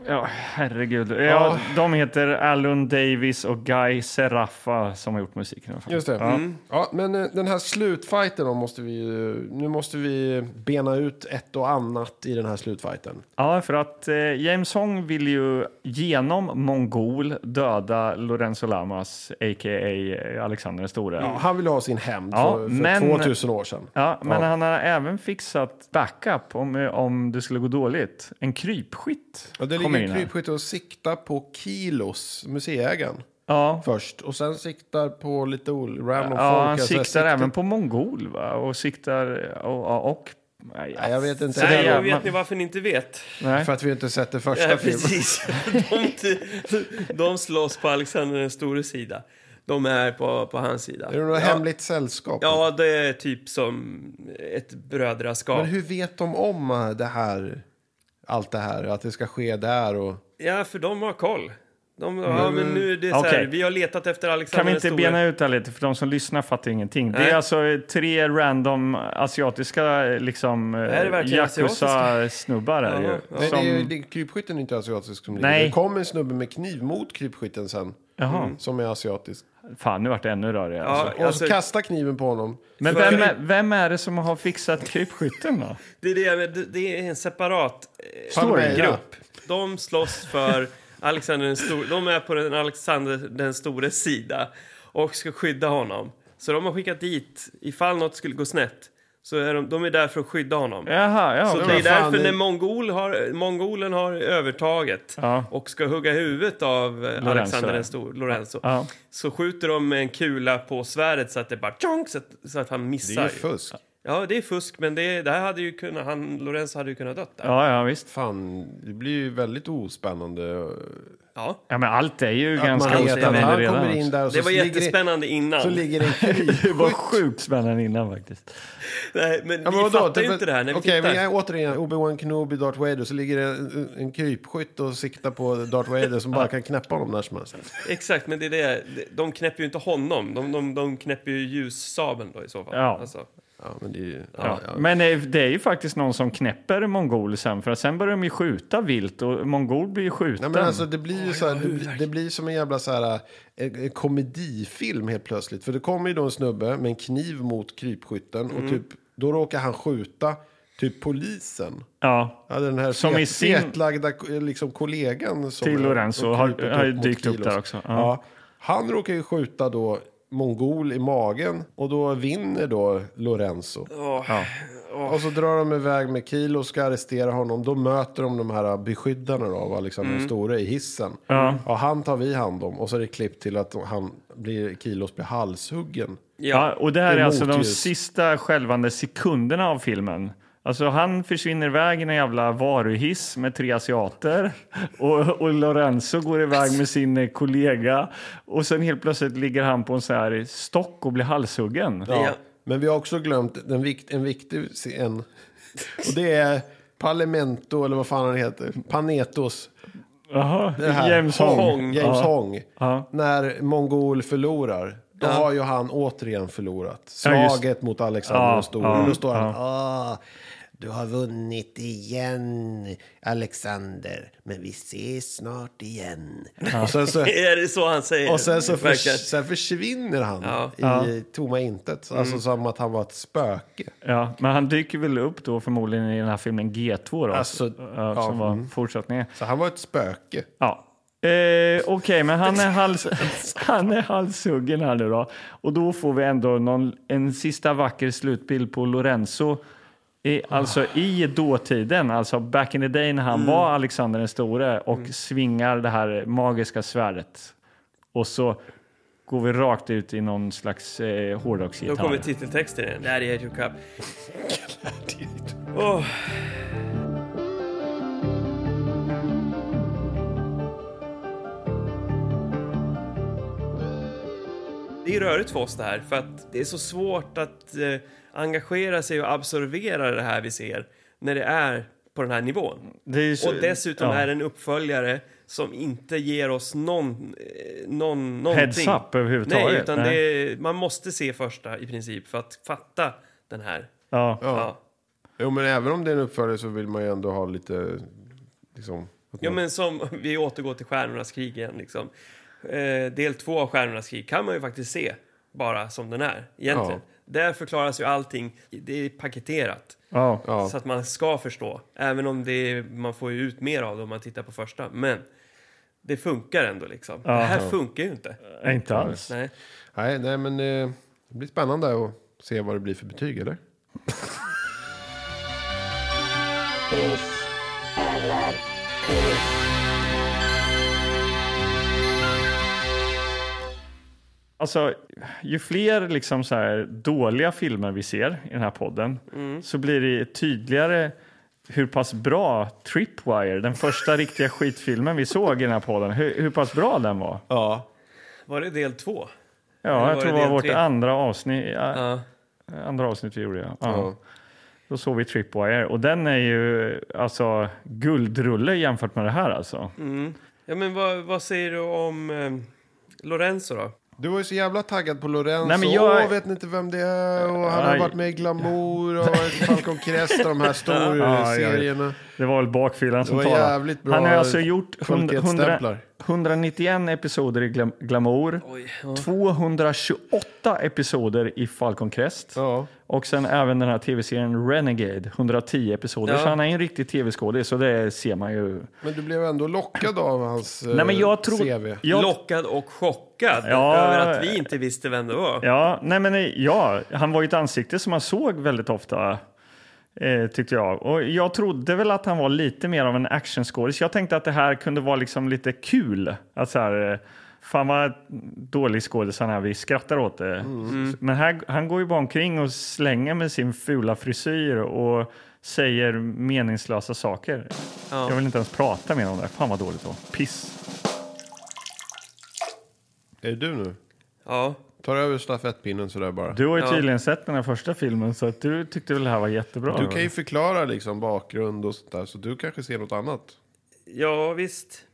Ja, herregud. Ja, De heter Alan Davis och Guy Serafa som har gjort musiken. i alla fall. Just det. Ja. men eh, den här slutfighten då måste vi ju- Nu måste vi bena ut ett och annat i den här slutfighten. Ja, för att eh, James Hong vill ju genom mongol döda Lorenzo Lamas, a.k.a. eh, Alexander den store. Ja, han vill ha sin hämnd Ja, för, för men- 2000 år sedan. Ja, men han har även fixat backup om, eh, om det skulle gå dåligt. En krypskytt Ja, det kommer ligger in här. krypskytte och siktar på Kilos, museiägaren, Ja, först. Och sen siktar på lite ol- random folk. ja han Alltså, siktar siktet- även på mongol va? och siktar eh, och... och nej, Nej, jag vet inte. Nej, Nej, ja, och vet man- ni varför ni inte vet? nej. För att vi inte sett den första Ja, filmen. precis. De, de slåss på Alexander den store sida. De är på, på hans sida. Är det något ja, hemligt sällskap? Ja, det är typ som ett brödraskap. Men hur vet de om eh, det här? Allt det här, att det ska ske där och... Ja, för de har koll. De, ja, men nu är det så här, Okej. vi har letat efter Alexander Kan vi inte den bena store. ut det här lite för de som lyssnar fattar ingenting. Det Nej. är alltså eh, tre random asiatiska eh, liksom eh, det verkligen yakuza-snubbar här Ja, ju. ja. Nej, Som, det är, ju- det, krypskytten är inte asiatisk som Nej. ligger. Det kom en snubbe med kniv mot krypskytten sen. Mm. Mm. Jaha. Som är asiatisk. Fan, nu vart det ännu rörigare. Ja, Alltså. Och alltså, så kastar kniven på honom. Men så är vem det- är, vem är det som har fixat krypskytten då? det, är det, jag menar, det, det är en separat eh, Palmeira. grupp. De slåss för Alexander den store. De är på den Alexander den stores sida och ska skydda honom. Så de har skickat dit, ifall något skulle gå snett, så är de, de är där för att skydda honom. Jaha, ja. Så okej. det är men fan, därför det- när mongol har, mongolen har övertaget Ja. och ska hugga huvudet av eh, Alexander den stor, Lorenzo Ja. så skjuter de med en kula på svärdet så att det bara tjong, så, att, så att han Det missar. är ju ju. fusk. Ja, det är fusk, men det, det här hade ju kunnat, han, Lorenzo hade ju kunnat dött där. Ja. ja, ja, visst. Fan, det blir ju väldigt ospännande. Ja, men allt är ju Att ganska man vet att ospännande han redan. kommer in alltså. där och Det så, var ligger, det- jättespännande innan. så [laughs] ligger det en Det var krypskytt. sjukt spännande innan faktiskt. Nej, men Ja, vi men vadå? fattar ju Typ- inte det här när vi Okej, tittar. men jag, återigen, Obi-Wan Kenobi, Darth Vader, så ligger det en, en krypskytt och siktar på Darth [laughs] Vader som bara kan knäppa honom när som helst. Exakt, men det är det. De knäpper ju inte honom. De, de, de knäpper ju ljussabeln då i så fall. Ja. Alltså. Ja, men det är ju... Ja, Ja. ja. Men eh, det är ju faktiskt någon som knäpper mongol sen, för att sen börjar de ju skjuta vilt och mongol blir ju skjuten. Nej, men alltså, det blir ju så här, det, blir- det blir som en jävla så här, eh, eh, komedifilm helt plötsligt. För det kommer ju då en snubbe med en kniv mot krypskytten Mm. och typ, då råkar han skjuta typ polisen. Ja, Ja, den här Som fet, i sin- fetlagda eh, liksom, kollegan. Som Till är- Lorenzo och har- kryper har mot dykt upp Kilos. där också. Ja. Ja. Han råkar ju skjuta då mongol i magen och då vinner då Lorenzo. Och så drar de iväg med Kilo och ska arrestera honom. Då möter de de här beskyddarna då, av Alexander den store i hissen. Ja. Och han tar vi hand om och så är det klipp till att han blir, Kilos blir halshuggen. Ja, och det här är Emot alltså de ljus. sista skälvande sekunderna av filmen. Alltså han försvinner iväg i en jävla varuhiss med tre asiater och, och Lorenzo går iväg med sin eh, kollega och sen helt plötsligt ligger han på en så här stock och blir halshuggen. Ja. Ja. Men vi har också glömt den vikt, en viktig scen. Och det är Parlamento, eller vad fan han heter. Panetos. Jaha, Det här. James Hong. Hong. James Ja. Hong. Ja. När Mongol förlorar. Då har ju han återigen förlorat. Ja, just- Slaget mot Alexander Ja, den store. ja, Och då står han. Ah, du har vunnit igen, Alexander. Men vi ses snart igen. Och sen så [laughs] Är det så han säger? och sen, så för, Verkar- sen försvinner han Ja. Mm. i tomma intet. Alltså som att han var ett spöke. Ja, men han dyker väl upp då förmodligen i den här filmen G2 då, Alltså, ja, ja, som var fortsättningen. Så han var ett spöke. Ja. Eh, Okej, men han är, hals, [laughs] han är halshuggen här nu då. Och då får vi ändå någon, en sista vacker slutbild på Lorenzo. I, alltså i dåtiden, alltså back in the day när han Mm. var Alexander den store och svingar det här magiska svärdet. Och så går vi rakt ut i någon slags eh, Då hårdrocksgitarr. kommer titeltexten igen. Gladiator Cup. Åh, Det är rörigt för oss det här, för att det är så svårt att eh, engagera sig och absorbera det här vi ser när det är på den här nivån. Det är ju så- Och dessutom ja. är det en uppföljare som inte ger oss någon, eh, någon, någonting. Heads up överhuvudtaget. Nej, utan Nej. Det är, man måste se första i princip för att fatta den här. Ja. Ja. Jo, men även om det är en uppföljare så vill man ju ändå ha lite... Liksom, att Ja, man- men som [laughs] vi återgår till Stjärnornas krig igen. Liksom. Eh, del två av Stjärnornas krig kan man ju faktiskt se bara som den är egentligen. Där förklaras ju allting. Det är paketerat Ja. Ja. så att man ska förstå. Även om det är, man får ju ut mer av det om man tittar på första. Men det funkar ändå liksom. Det här funkar ju inte. inte alls. Nej. Nej, nej, men eh, det blir spännande att se vad det blir för betyg, eller? Alltså, ju fler liksom så här dåliga filmer vi ser i den här podden så blir det tydligare hur pass bra Tripwire, den första riktiga skitfilmen vi såg i den här podden, hur, hur pass bra den var. Ja, Var det del två? var jag det tror det var del vårt tre? andra avsnitt, ja, Ja. andra avsnitt vi gjorde. Ja. Ja. Då såg vi Tripwire och den är ju alltså guldrulle jämfört med det här alltså. Ja, men vad, vad säger du om eh, Lorenzo då? Du var ju så jävla taggad på Lorenzo. Nej, men jag- Åh, vet ni inte vem det är? Och han har Nej. varit med i Glamour och Falcon Crest och de [laughs] här Ja, stora jag vet. serierna. Det var väl bakfyllan som var talade. jävligt bra Han har alltså gjort hund- kvalitetsstämplar. 100, 191 episoder i Glam- Glamour, 228 episoder i Falcon Crest Ja. och sen även den här tv-serien Renegade, 110 episoder. Ja. Så han är ju en riktig tv-skådis så det ser man ju. Men du blev ändå lockad av hans eh, Nej, men jag tror- CV. Jag- Lockad och chockad Ja. över att vi inte visste vem det var. Ja, nej men nej, ja, han var ju ett ansikte som man såg väldigt ofta. Eh, tyckte jag. Och jag trodde väl att han var lite mer av en actionskådis. Jag tänkte att det här kunde vara liksom lite kul. Att så här, eh, fan vad dålig skådis han är, vi skrattar åt det. Men här, han går ju bara omkring och slänger med sin fula frisyr och säger meningslösa saker. Jag vill inte ens prata mer om det. Fan vad dåligt då. Piss. Är det du nu? Ja. Tar över stafettpinnen sådär bara. Du, Du har ju tydligen sett den här första filmen så att du tyckte väl det här var jättebra. kan ju förklara liksom bakgrund och sånt där. Så du kanske ser något annat. ja, visst.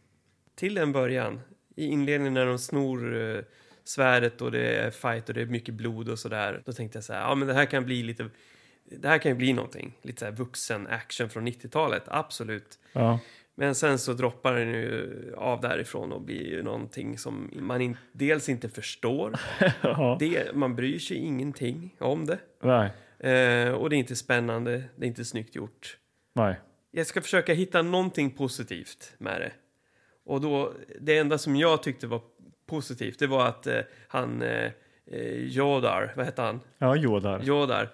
Till en början, i inledningen när de snor eh, svärdet och det är fight och det är mycket blod och sådär. Då tänkte jag så här, ja men det här kan bli lite, det här kan ju bli någonting. Lite så här vuxen action från 90-talet, absolut. Ja. Men sen så droppar den ju av därifrån och blir ju någonting som man in, dels inte förstår. Ja. Det, man bryr sig ingenting om det. Nej. Eh, och det är inte spännande, det är inte snyggt gjort. Nej. Jag ska försöka hitta någonting positivt med det. Och då, det enda som jag tyckte var positivt, det var att eh, han, eh, eh, Jodar, vad hette han? Ja, Jodar. Jodar.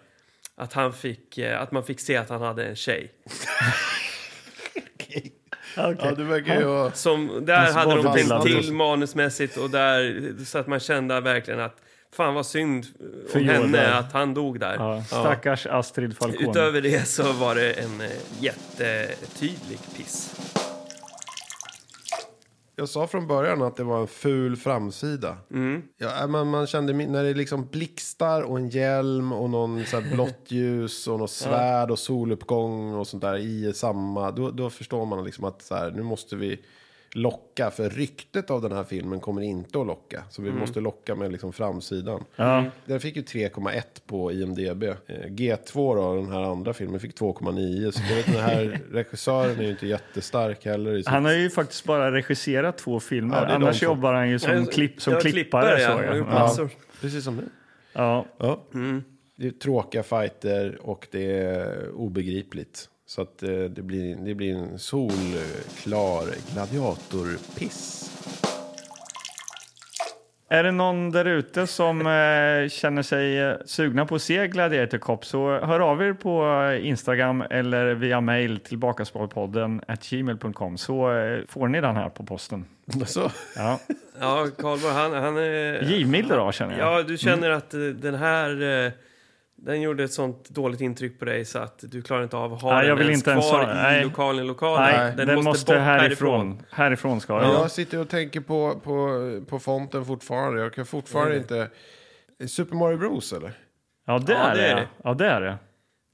Att han fick, eh, att man fick se att han hade en tjej. Ja, du verkar ju ha... Som, där så hade var de det tänkt Dylan till också. manusmässigt och där, så att man kände verkligen att fan vad synd eh, För om henne Jodar. att han dog där. Ja. Ja. Stackars Astrid Falcone. Utöver det så var det en eh, jättetydlig piss. Jag sa från början att det var en ful framsida. Ja, äh, man, man kände min- när det liksom blixtar och en hjälm och någon så här blått [laughs] ljus och något svärd och soluppgång och sånt där i samma. Då, då förstår man liksom att så här, nu måste vi locka. För ryktet av den här filmen kommer inte att locka. Så vi måste locka med liksom framsidan. Mm. Den fick ju 3,1 på IMDB. Eh, G2 då, den här andra filmen, fick 2,9. Så jag vet, den här [laughs] regissören är ju inte jättestark heller. i sitt- Han har ju faktiskt bara regisserat två filmer. Ja, det är de Annars två. jobbar han ju som, Ja, klipp, som jag klippare. ja. så, Jag har gjort ja. massor. Precis som nu. Ja. Ja. Det är tråkiga fighter och det är obegripligt. Så att eh, det blir, det blir en solklar gladiatorpiss. Är det någon där ute som eh, känner sig eh, sugna på att se Gladiator Cop så hör av er på eh, Instagram eller via mail till bakasparpodden at gmail.com så eh, får ni den här på posten. Så. Ja. Ja, Karlborg, han, han eh, är... Givmild idag känner jag. Ja, du känner att eh, den här... eh, Den gjorde ett sånt dåligt intryck på dig så att du klarar inte av att ha Nej, den jag vill ens inte ens kvar ha- nej. i lokalen. lokalen. Nej, den, måste, bort härifrån. härifrån. ska den. Jag sitter och tänker på, på, på fonten fortfarande. Jag kan fortfarande inte... Super Mario Bros eller? Ja, det Ja, är det. ja. Ja, det är det.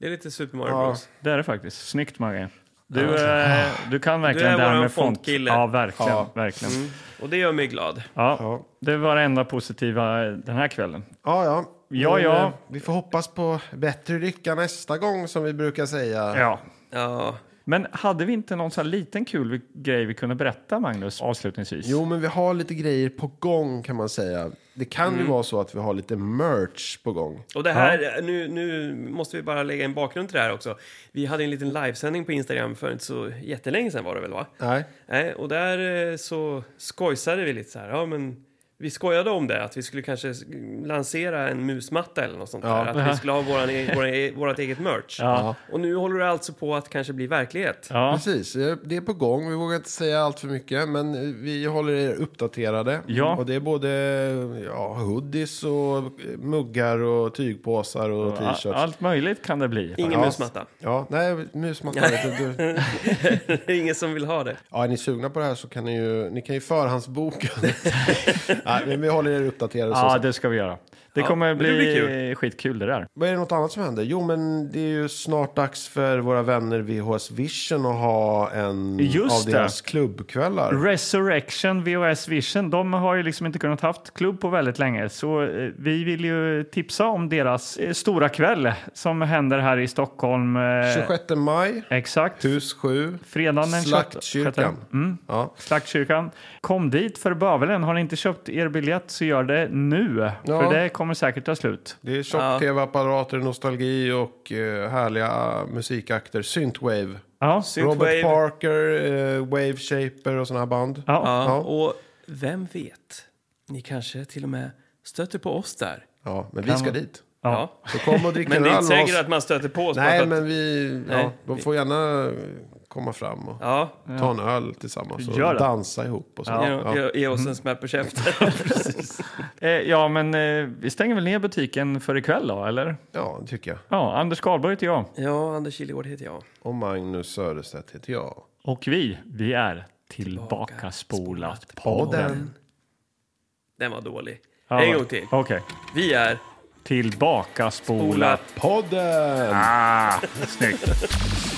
Det är lite Super Mario Ja. Bros. Det är det faktiskt. Snyggt, Mange. Du, eh, du kan verkligen Du är det här våran med font. fontkille. Ja, verkligen. Ja. verkligen. Och det gör mig glad. Ja, Ja. Det var det enda positiva den här kvällen. Ja, ja. Ja, Men, ja. eh, Vi får hoppas på bättre lycka nästa gång som vi brukar säga. Ja. Ja, Men hade vi inte någon sån här liten kul vi- grej vi kunde berätta, Magnus, avslutningsvis? Jo, men vi har lite grejer på gång kan man säga. Det kan ju vara så att vi har lite merch på gång. och det här, nu, nu måste vi bara lägga en bakgrund till det här också. Vi hade en liten livesändning på Instagram för inte så jättelänge sedan var det väl va? Nej. Nej, och där eh, så skojsade vi lite så här. Ja, men vi skojade om det, att vi skulle kanske s- lansera en musmatta eller något sånt där. Att vi skulle ha våran, e- våran, e- vårat eget merch. Ja. Och nu håller det alltså på att kanske bli verklighet. Ja. Precis, eh, det är på gång. Vi vågar inte säga allt för mycket, men eh, vi håller er uppdaterade. Ja. Och det är både ja, hoodies och eh, muggar och tygpåsar och A- t-shirts. Allt möjligt kan det bli. Ingen Ja. musmatta. Ja, nej, musmatta. [laughs] du- du- Det är ingen som vill ha det. Ja, är ni sugna på det här så kan ni ju, ni kan [laughs] ju förhandsboka. nej, men vi håller er uppdaterade. så Ja, sagt. det ska vi göra. Det Ja, kommer men det bli blir skitkul det där. Vad är det något annat som händer? Jo, men det är ju snart dags för våra vänner VHS Vision att ha en Just av det. deras klubbkvällar. Resurrection VHS Vision, de har ju liksom inte kunnat haft klubb på väldigt länge. Så eh, vi vill ju tipsa om deras eh, stora kväll som händer här i Stockholm. eh, 26 maj, Exakt. hus 7. Fredagen den 28. Slaktkyrkan. Mm. Ja. Slaktkyrkan. Kom dit för bövelen. Har ni inte köpt er biljett så gör det nu. För det kommer säkert ta slut. Det är tjock-tv-apparater, nostalgi och eh, härliga musikakter. Synthwave. Ja. Robert Synthwave. Parker, eh, Wave Shaper och sådana här band. Ja. Ja, och vem vet? Ni kanske till och med stöter på oss där. Ja, men vi ska dit. Ja. Så kom och drick Men en det är öl inte med säkert oss. att man stöter på oss. bara Nej, för att, men vi... Ja, Nej. de får gärna eh, komma fram och ja, ta en öl tillsammans och Gör det. dansa ihop och så. ge, ge, ge Mm. oss en smäll på käften. [laughs] Eh, ja, men eh, vi stänger väl ner butiken för ikväll då, eller? Ja, det tycker jag. Ja, Anders Karlberg heter jag. ja, Anders Kilegård heter jag. Och Magnus Söderstedt heter jag. Och vi, vi är Tillbaka spolat podden. Den var dålig. Ja. En gång till. Okej. Vi är Tillbaka spolat. Podden! Ah, snyggt.